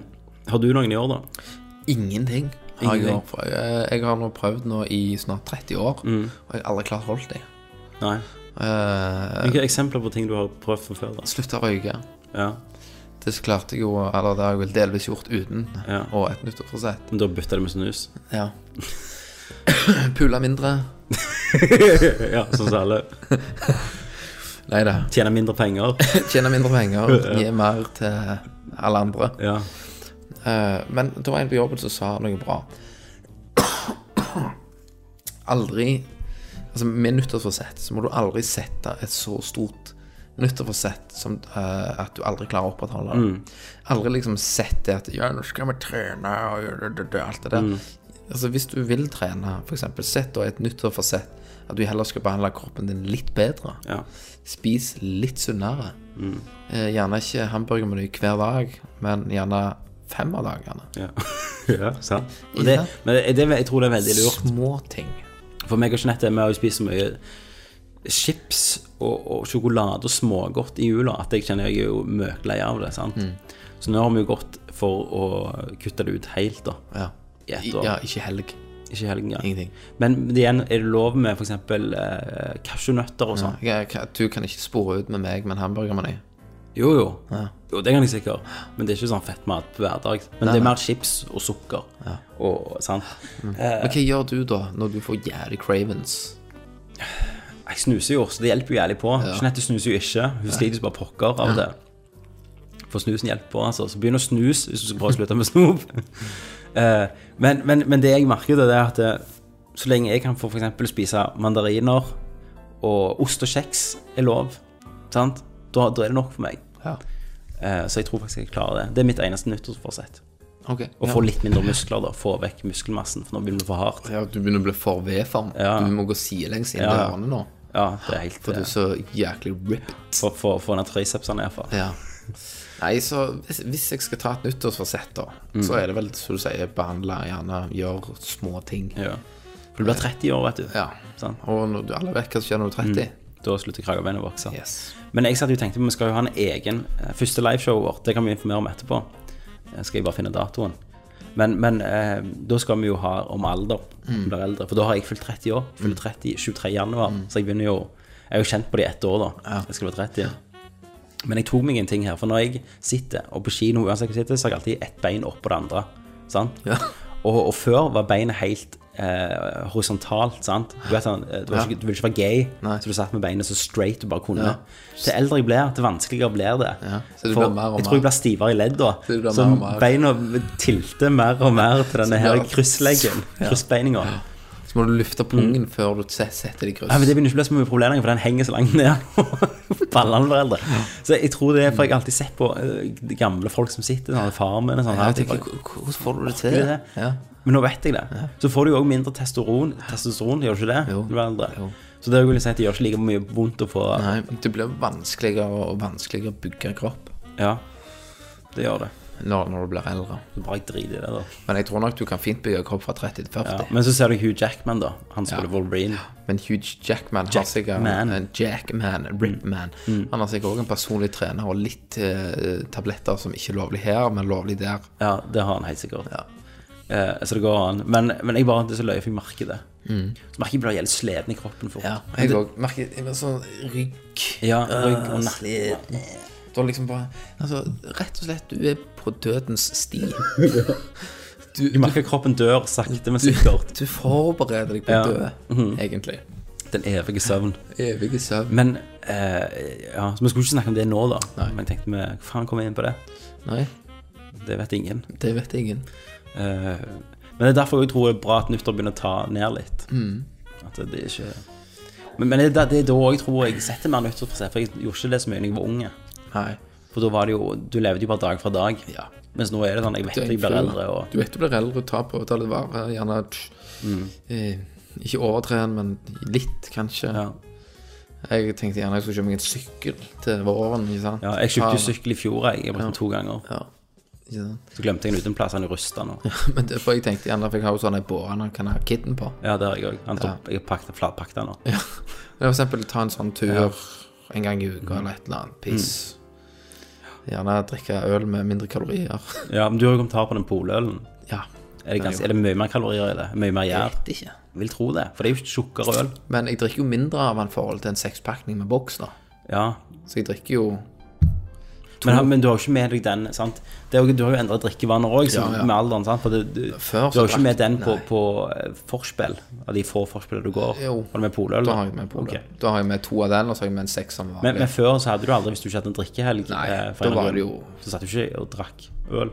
S1: har du noen i år, da?
S5: Ingenting. Har jeg,
S1: Ingenting.
S5: gjort, for jeg, eh, jeg har nå prøvd nå i snart 30 år,
S1: Mm.
S5: og jeg har aldri klart å holde det.
S1: Nei.
S5: Uh,
S1: Hvilke eksempler på ting du har prøvd fra før? da?
S5: Slutta å røyke.
S1: Ja.
S5: Det så klarte jeg jo Eller det har jeg vel delvis gjort uten,
S1: Ja.
S5: og et nyttårsforsett.
S1: Men da bytta det med snus?
S5: Ja. Pula mindre.
S1: ja, sånn som alle.
S5: Nei da.
S1: Tjener mindre penger.
S5: Tjene mindre penger, gi mer til alle andre.
S1: Ja.
S5: Eh, men det var en på jobben som sa noe bra. Aldri Altså Med nyttårsforsett så må du aldri sette et så stort nyttårsforsett som eh, at du aldri klarer å opprettholde det. Aldri liksom sett det at Ja, nå skal vi trene og gjøre det, det, det, alt det der. Altså Hvis du vil trene, f.eks., sett da et nyttårsforsett at du heller skal behandle kroppen din litt bedre.
S1: Ja.
S5: Spis litt sunnere.
S1: Mm.
S5: Eh, gjerne ikke hamburgermeny hver dag, men gjerne fem av dagene.
S1: Ja, ja sant. Og det, men det, det, jeg tror det er veldig lurt.
S5: Små ting.
S1: For meg og Jeanette vi har jo spist så mye chips og, og sjokolade og smågodt i jula at jeg kjenner jeg er jo møklei av det. sant? Så nå har vi jo gått for å kutte det ut helt, da.
S5: Ja.
S1: I ett
S5: I,
S1: år.
S5: ja, ikke helg.
S1: Ikke i helgen. Ja.
S5: Ingenting.
S1: Men igjen, er det lov med f.eks. Eh, cashewnøtter og sånn?
S5: Jeg, jeg, du kan ikke spore ut med meg med en hamburgermeny.
S1: Jo, jo. Jo, det kan jeg sikkert. Men det er ikke sånn fettmat på hverdag. Men det er mer chips og sukker. Og, sant? Eh,
S5: Men hva gjør du da, når du får jævlig cravens?
S1: jeg snuser jo, så det hjelper jo jævlig på. Jeanette snuser jo ikke. Hun sliter jo bare pokker av det. For snusen hjelper på, altså. Så begynn å snuse hvis du skal prøve å slutte med snop. Eh, men, men, men det jeg merker, det er at eh, så lenge jeg kan få for eksempel spise mandariner og ost og kjeks er lov, sant? Da, da er det nok for meg.
S5: Ja.
S1: Eh, Så jeg tror faktisk jeg klarer det. Det er mitt eneste nyttårsforsett.
S5: Ok.
S1: Å
S5: Ja.
S1: få litt mindre muskler, da. Få vekk muskelmassen, for nå begynner det for hardt.
S5: ja, du begynner å bli for vedform.
S1: Ja.
S5: Du må gå sidelengs inn
S1: Ja.
S5: i ørene nå.
S1: Ja, det er helt eh,
S5: For du er så jæklig ripped.
S1: For for- for den tricepsen ned, for.
S5: Ja. Nei, så hvis, hvis jeg skal ta et nyttårsforsett, da, så er det vel som du sier, behandle gjerne, gjør små ting.
S1: Ja. For du blir 30 år, vet du.
S5: Ja.
S1: Sånn.
S5: Og når du alle vet hva som skjer når du er 30.
S1: Da slutter kragebeinet å vokse.
S5: Yes.
S1: Men jeg satt jo og tenkte vi skal jo ha en egen eh, første liveshowet vårt. Det kan vi informere om etterpå. Eh, Skal jeg bare finne datoen. Men, men eh, da skal vi jo ha om alder. om Blir eldre. For da har jeg fylt 30 år. Fyller 30 23. januar. Så jeg begynner jo Jeg er jo kjent på det i ett år, da. Jeg skal være 30. Men jeg tok meg en ting her, for når jeg sitter, og på kino uansett hvor jeg sitter, så har jeg alltid ett bein oppå det andre. Sant?
S5: Ja.
S1: Og, og før var beinet helt eh, horisontalt, sant? Du, vet, sånn, eh, du, var ikke, du ville ikke være gay,
S5: Nei.
S1: så du satt med beinet så straight du bare kunne. Til eldre jeg blir, til vanskeligere blir det.
S5: Ja, så du
S1: For
S5: blir mer og
S1: jeg tror jeg
S5: mer.
S1: blir stivere i ledd da.
S5: Så du blir
S1: Så
S5: mer og mer.
S1: beina tilter mer og mer til denne her
S5: blir-
S1: kryssleggen, kryssbeininga.
S5: Så må du løfte pungen før du set- setter Mm. det i kryss.
S1: Ja, men Det begynner ikke å bli så mye problem lenger, for den henger så langt ned. Ballene blir eldre. Så jeg tror det er for jeg har alltid sett på eh, de gamle folk som sitter sånn, far min og sånn.
S5: Ja,
S1: her,
S5: jeg tenker,
S1: bare,
S5: "Hvor- hvordan får du det til?
S1: «Gjør det?»
S5: Ja.
S1: Men nå vet jeg det. Så får du jo òg mindre testosteron, testosteron, gjør du ikke det?
S5: Jo.
S1: Når du blir eldre.
S5: Jo.
S1: Så det vil jeg si at det gjør ikke like mye vondt å få
S5: Nei, men det blir vanskeligere og vanskeligere å bygge kropp.
S1: Ja, det gjør det.
S5: når, når du blir eldre.
S1: Så bare jeg driter i det, da.
S5: Men jeg tror nok du kan fint bygge kropp fra 30 til 40.
S1: Ja. Men så ser du Hugh Jackman, da. Han spiller Wolverine.
S5: Men Huge Jackman har sikkert
S1: Jackman.
S5: en Jackman, Ripman. Han har sikkert også en personlig trener og litt eh, tabletter som ikke er lovlig her, men lovlig der.
S1: Ja, det har han helt sikkert. Eh, så det går an. Men, men jeg bare det er så løye, for jeg merker det. Så merker jeg blir jævlig sliten i kroppen fort.
S5: Mm. jeg òg merker jeg blir sånn rygg
S1: Ja, rygg og nakke.
S5: Sliten. Da liksom bare Altså, rett og slett, du er på dødens sti. Du,
S1: Du
S5: du,
S1: merker kroppen dør sakte, men sikkert.
S5: du forbereder deg på å dø, egentlig.
S1: Den evige søvn.
S5: Evige søvn.
S1: Men eh, ja, så Vi skulle ikke snakke om det nå, da.
S5: Nei.
S1: Men jeg tenkte vi hva faen kom jeg inn på det.
S5: Nei,
S1: Det vet ingen.
S5: det vet ingen.
S1: Eh, men det er derfor jeg tror det er bra at nyttår begynner å ta ned litt.
S5: Mm.
S1: At det, det er ikke Men, men det, er da- det er da jeg tror jeg setter mer nyttår for seg. For jeg gjorde ikke det så mye da jeg var unge.
S5: Nei.
S1: For da var det jo Du levde jo bare dag for dag.
S5: Ja.
S1: Mens nå er det sånn Jeg vet
S5: Du er
S1: jeg blir
S5: full.
S1: eldre og Mm.
S5: Du vet du blir eldre, ta på ta litt vare, gjerne tsk, eh, Ikke overtren, men litt, kanskje.
S1: ja.
S5: Jeg tenkte gjerne jeg skulle kjøpe meg en sykkel til våren. ikke sant?
S1: ja, jeg kjøpte jo
S5: Faen,
S1: sykkel i fjor, jeg. Jeg brukte den to ganger.
S5: Ja, ikke sant?
S1: Så glemte jeg den ute en plass. Han er rusta nå.
S5: Men det, for jeg tenkte gjerne, for jeg har jo sånne bårer man kan ha kidden på.
S1: Ja, det har jeg òg. Jeg har pakket flatpakket den nå.
S5: Ja. For eksempel ta en sånn tur en gang i
S1: Mm.
S5: uka eller et eller annet. Piss. Gjerne drikke øl med mindre kalorier.
S1: Ja, men du har jo kommentar på den polølen.
S5: ja.
S1: Er det, ganske, er det mye mer kalorier i det? Mye mer gjær?
S5: Vet ikke.
S1: Vil tro det. For det er jo ikke tjukkere øl.
S5: Men jeg drikker jo mindre av den i forhold til en sekspakning med boks, da.
S1: Ja.
S5: Så jeg drikker jo
S1: Men, men du har jo ikke med deg den, sant? Det er jo, du har jo endra drikkevaner òg,
S5: Ja, ja.
S1: med alderen, sant? For det, du,
S5: Før
S1: du
S5: så
S1: har jo ikke med
S5: drakk-
S1: den på,
S5: nei.
S1: på eh, forspill, av de få forspillene du går.
S5: Jo.
S1: Har du med poløl?
S5: Da har jeg med polo.
S1: Ok.
S5: Da har jeg med to av den, og så har jeg med en seks som vanlig.
S1: Men, men før så hadde du aldri, hvis du ikke hadde en drikkehelg
S5: Nei,
S1: eh, for
S5: da
S1: en
S5: var
S1: grunn,
S5: det jo-
S1: Så satt du ikke og drakk øl.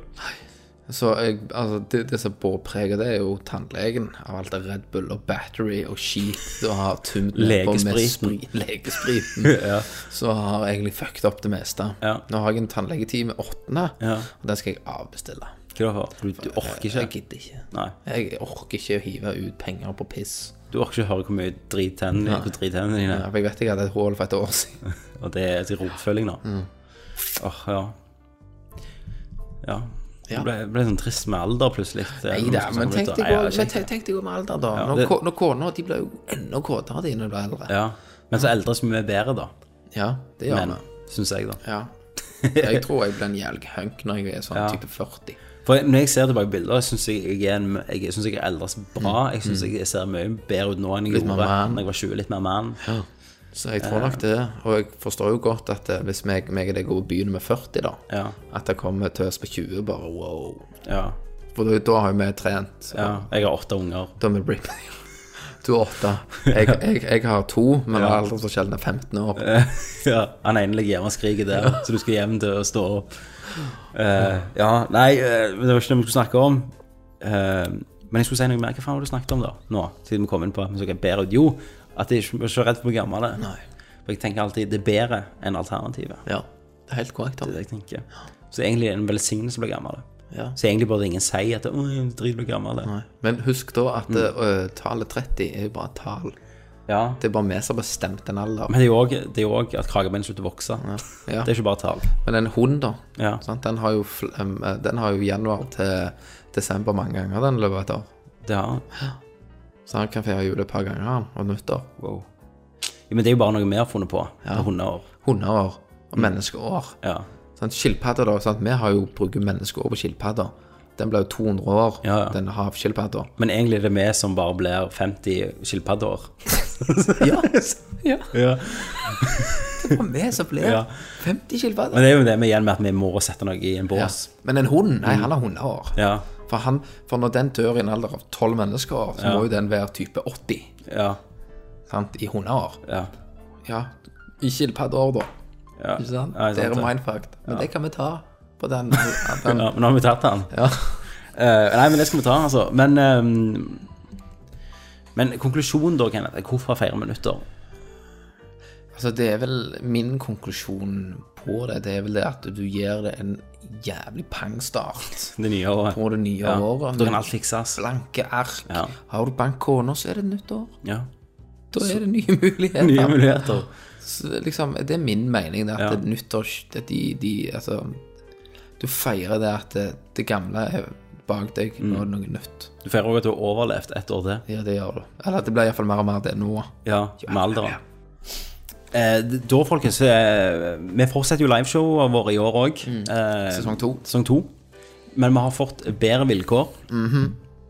S5: Så jeg, altså, det, det som bærer preg av det, er jo tannlegen. Av alt det Red Bull og battery og skit du har tømt ned på med
S1: Legespriten.
S5: sprit- legespriten. Så har jeg egentlig fucket opp det meste.
S1: Ja.
S5: Nå har jeg en tannlegetime åttende,
S1: Ja.
S5: og den skal jeg avbestille.
S1: Hva er det for? Du, du orker ikke.
S5: Jeg gidder ikke.
S1: Nei.
S5: Jeg orker ikke å hive ut penger på piss.
S1: Du orker ikke høre hvor mye drit tennene dine- hvor drit tennene dine
S5: Ja, for jeg vet jeg hadde et hull for et år siden.
S1: Og det er til rotfølging nå.
S5: Mm.
S1: Åh, ja. Ja. Det
S5: Ja.
S1: ble, ble sånn trist med alder plutselig.
S5: Nei da, men tenk deg også- men tenk- tenk deg om alder, da.
S1: Ja,
S5: Når
S1: det-
S5: ko- Når kona de blir jo enda kåtere de når de blir eldre.
S1: Ja. Men så eldres vi mye bedre, da.
S5: Ja, det gjør
S1: Men,
S5: vi.
S1: syns jeg, da.
S5: Ja. Jeg tror jeg blir en jævlig hunk når jeg er sånn
S1: Ja.
S5: type 40.
S1: For når jeg ser tilbake bilder, syns jeg jeg, er en, jeg, synes jeg er eldres bra. Jeg syns jeg ser mye bedre ut nå enn jeg
S5: Mm. mer
S1: gjorde da
S5: man.
S1: jeg var 20. Litt mer mann.
S5: Så jeg tror nok det. Og jeg forstår jo godt at eh, hvis meg, meg og deg går og begynner med 40, da,
S1: Ja.
S5: at det kommer til oss på 20, bare wow.
S1: Ja.
S5: For da, da har jo vi trent.
S1: ja. Jeg har åtte unger.
S5: Da har vi blitt Du er åtte. Jeg, jeg, jeg har to, men
S1: Ja.
S5: aldersforskjellen er 15 år.
S1: ja, han ene ligger hjemme og skriker der, så du skal hjem til å stå opp. Eh, ja, nei, eh, men det var ikke det vi skulle snakke om. Eh, men jeg skulle si noe mer. Hva faen var det du snakket om da? Nå, siden vi kom inn på at vi skal bedre ut. Jo, at jeg ikke jeg er så redd for å bli gammel.
S5: Nei.
S1: For jeg tenker alltid det er bedre enn alternativet.
S5: Ja. Det er helt korrekt.
S1: Det er
S5: Da.
S1: det jeg tenker. Så egentlig er det en velsignelse å bli gammel.
S5: Ja.
S1: Så egentlig burde ingen si at «Åh, jeg driter i å bli gammel.
S5: Nei. Men husk da
S1: Mm.
S5: at eh, tallet 30 er jo bare et tall.
S1: Ja.
S5: Det er bare vi som har bestemt en alder.
S1: Men det er jo også- det er jo òg at kragebeinet slutter å vokse.
S5: Ja.
S1: Det er ikke bare tall.
S5: Men en hund, da.
S1: Ja.
S5: Sant? Den, har jo, fl- em, eh, den har jo januar til desember mange ganger den i løpet av et år.
S1: Det har
S5: Så han kan feire jul et par ganger han, og nyttår.
S1: Wow. Ja, men det er jo bare noe vi har funnet på. Ja. Hundeår.
S5: Hundeår og
S1: Mm.
S5: menneskeår.
S1: Ja.
S5: Sant? Skilpadder, da. Sant? Vi har jo bruker menneskeår på skilpadder. Den ble jo 200 år,
S1: Ja, ja.
S5: den havskilpadda.
S1: Men egentlig er det vi som bare blir 50 skilpaddeår.
S5: Ja,
S1: Ja.
S5: det var vi som ble
S1: Ja.
S5: 50 skilpadder.
S1: Men det er jo det med igjen med at vi må sette noe i en bås.
S5: Men en hund, nei, han har hundeår.
S1: Mm. Ja.
S5: For, han, for når den dør i en alder av 12 menneskeår, så må jo den være type 80
S1: Ja.
S5: sant? i hundeår.
S1: Ja.
S5: Ja, i skilpaddeår, da.
S1: ja.
S5: Ikke sant?
S1: Ja,
S5: det er
S1: sant det.
S5: mindfucked. Men det kan vi ta på den. den
S1: Ja, men nå har vi tatt den.
S5: ja.
S1: Eh, nei, men det skal vi ta, altså. Men, ehm, men konklusjonen da, Kenneth, er hvorfor feire minutter?
S5: Altså, det er vel min konklusjon på det. Det er vel det at du gir det en jævlig pangstart
S1: Det nye året.
S5: på det nye
S1: ja.
S5: året.
S1: Da kan alt fikses.
S5: Blanke ark.
S1: Ja.
S5: Har du bankkona, så er det nyttår.
S1: Ja.
S5: Da er det nye muligheter.
S1: Nye muligheter.
S5: Så, liksom, det er min mening, det at
S1: Ja.
S5: det er nyttår det, de, de, altså, Du feirer det at det, det gamle er bak deg.
S1: Mm.
S5: Nå er det noe nytt.
S1: Du feirer òg at du har overlevd ett år til.
S5: Ja, det gjør du. Eller at det blir i hvert fall mer og mer det nå.
S1: Ja, med alderen. Eh, d- da, folkens eh, Vi fortsetter jo liveshowene våre i år òg.
S5: Sesong to.
S1: sesong to. Men vi har fått bedre vilkår.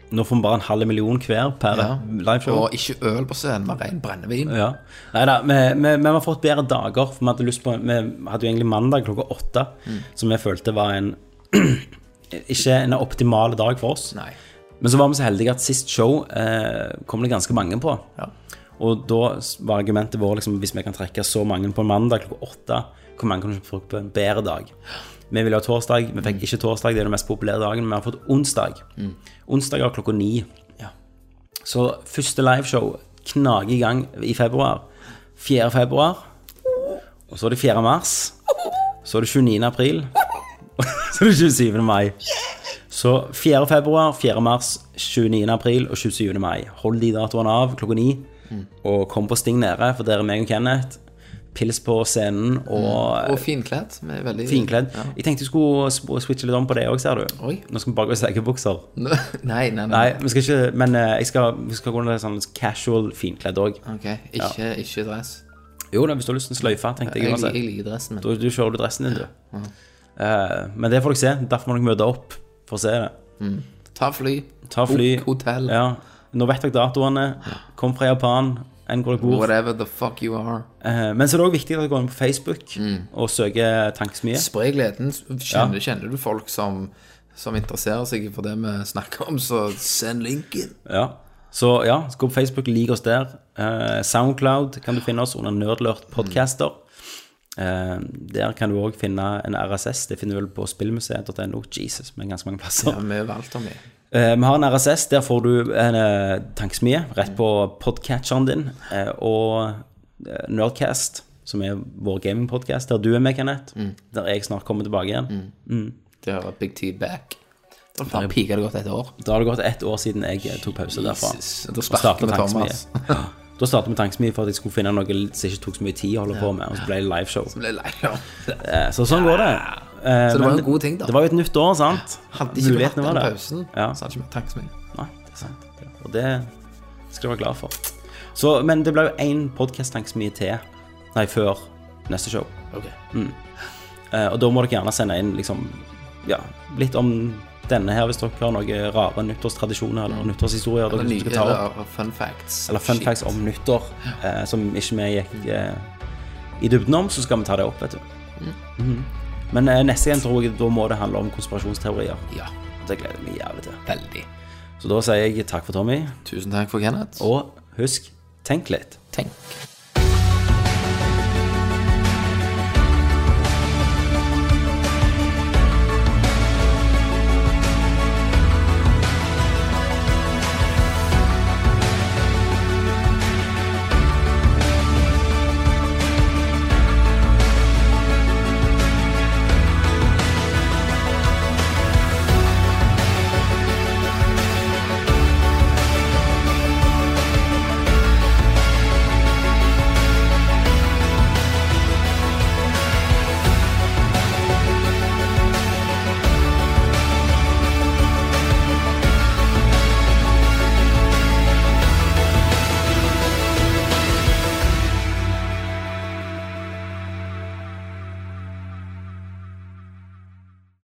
S1: Nå får vi bare en halv million hver per
S5: Ja.
S1: liveshow.
S5: Og ikke øl på scenen, men ren brennevin.
S1: Ja. Nei da, vi, vi, vi har fått bedre dager. For vi hadde, lyst på, vi hadde jo egentlig mandag klokka åtte, som vi følte var en ikke en optimal dag for oss.
S5: Nei.
S1: Men så var vi så heldige at sist show eh, kom det ganske mange på.
S5: Ja.
S1: Og da var argumentet vårt liksom, hvis vi kan trekke så mange på en mandag klokka åtte, hvor mange kan vi få på en bedre dag? Vi ville ha torsdag, vi fikk ikke torsdag, det er den mest populære dagen. men Vi har fått onsdag. Onsdager klokka ni.
S5: Ja.
S1: Så første liveshow knager i gang i februar. 4. februar. Og så er det 4. mars. Så er det 29. april. Så er det 27. mai. Så 4. februar, 4. mars, 29. april og 27. mai. Hold de datoene av klokka ni. Og kom på Sting nede, for der er meg og Kenneth. Pils på scenen og
S5: Mm.
S1: eh,
S5: Og finkledd. Vi er veldig
S1: finkledd.
S5: Ja.
S1: Jeg tenkte jeg skulle sp- switche litt om på det òg, ser du.
S5: Oi.
S1: Nå skal vi bare gå i seggebukser.
S5: Nei, nei, nei.
S1: Nei, vi skal ikke, men eh, jeg skal, vi skal gå under sånn casual finkledd òg.
S5: Ok, ikke, ikke dress.
S1: Jo da, hvis du har lyst til en sløyfe, tenkte jeg.
S5: Jeg,
S1: uansett.
S5: jeg liker dressen min.
S1: Du, du kjører du dressen din, du. Eh, men det får dere se. Derfor må dere møte opp for å se det.
S5: Ta fly.
S1: Ta fly.
S5: Bok hotell.
S1: Ja. Nå vet dere datoene. Kom fra Japan. Enn hvor dere bor.
S5: Whatever the fuck you are.
S1: Eh, men så er det òg viktig at dere går inn på Facebook og søker Tankesmie.
S5: Spre gleden. Kjenner, kjenner du folk som, som interesserer seg for det vi snakker om, så send linken.
S1: Ja. Så ja, så gå på Facebook, lik oss der. Eh, Soundcloud kan du finne oss under Nerdlurt Podcaster. Eh, der kan du òg finne en RSS. Det finner du vel på spillmuseet.no. Jesus, men ganske mange plasser.
S5: Ja, vi valgte om det.
S1: Eh, Vi har en RSS, der får du en eh, tankesmie rett på podcatcheren din, eh, og eh, Nerdcast, som er vår gamingpodcast, der du er med, Kenneth,
S5: Mm.
S1: der jeg snart kommer tilbake igjen.
S5: Det hører Big T back. Da faen pika det godt et år.
S1: Da har det gått ett år siden jeg eh, tok pause derfra.
S5: Jesus,
S1: og
S5: da
S1: startet
S5: sparker vi
S1: Tankesmie.
S5: Thomas.
S1: Ja. Da startet vi tankesmie for at jeg skulle finne noe som ikke tok så mye tid å holde på med, og så ble det liveshow.
S5: Ble lei av det.
S1: Eh, Så sånn går det. Eh,
S5: Så det var
S1: men
S5: jo en god ting, da.
S1: Det var jo et nytt år, sant?
S5: Hadde ikke du hatt
S1: Mulighetene
S5: den
S1: var der.
S5: pausen,
S1: Ja.
S5: så hadde ikke vi takket så mye.
S1: Nei, det er sant. Og det skal du være glad for. Så, men det ble jo én podkast-tank så mye til Nei, før neste show. Eh, og da må dere gjerne sende inn liksom, ja, litt om denne her, hvis dere har noen rare nyttårstradisjoner eller nyttårshistorier dere
S5: Eller nye
S1: skal ta opp.
S5: eller fun facts.
S1: Eller fun
S5: Shit.
S1: facts om nyttår eh, som ikke vi gikk eh, i dybden om, så skal vi ta det opp, vet du.
S5: Mm.
S1: Mhm. Men eh, neste gang tror jeg da må det handle om konspirasjonsteorier.
S5: Ja,
S1: Det gleder jeg meg jævlig til.
S5: veldig.
S1: Så da sier jeg takk for Tommy.
S5: Tusen takk for Kenneth.
S1: Og husk, tenk litt.
S5: tenk.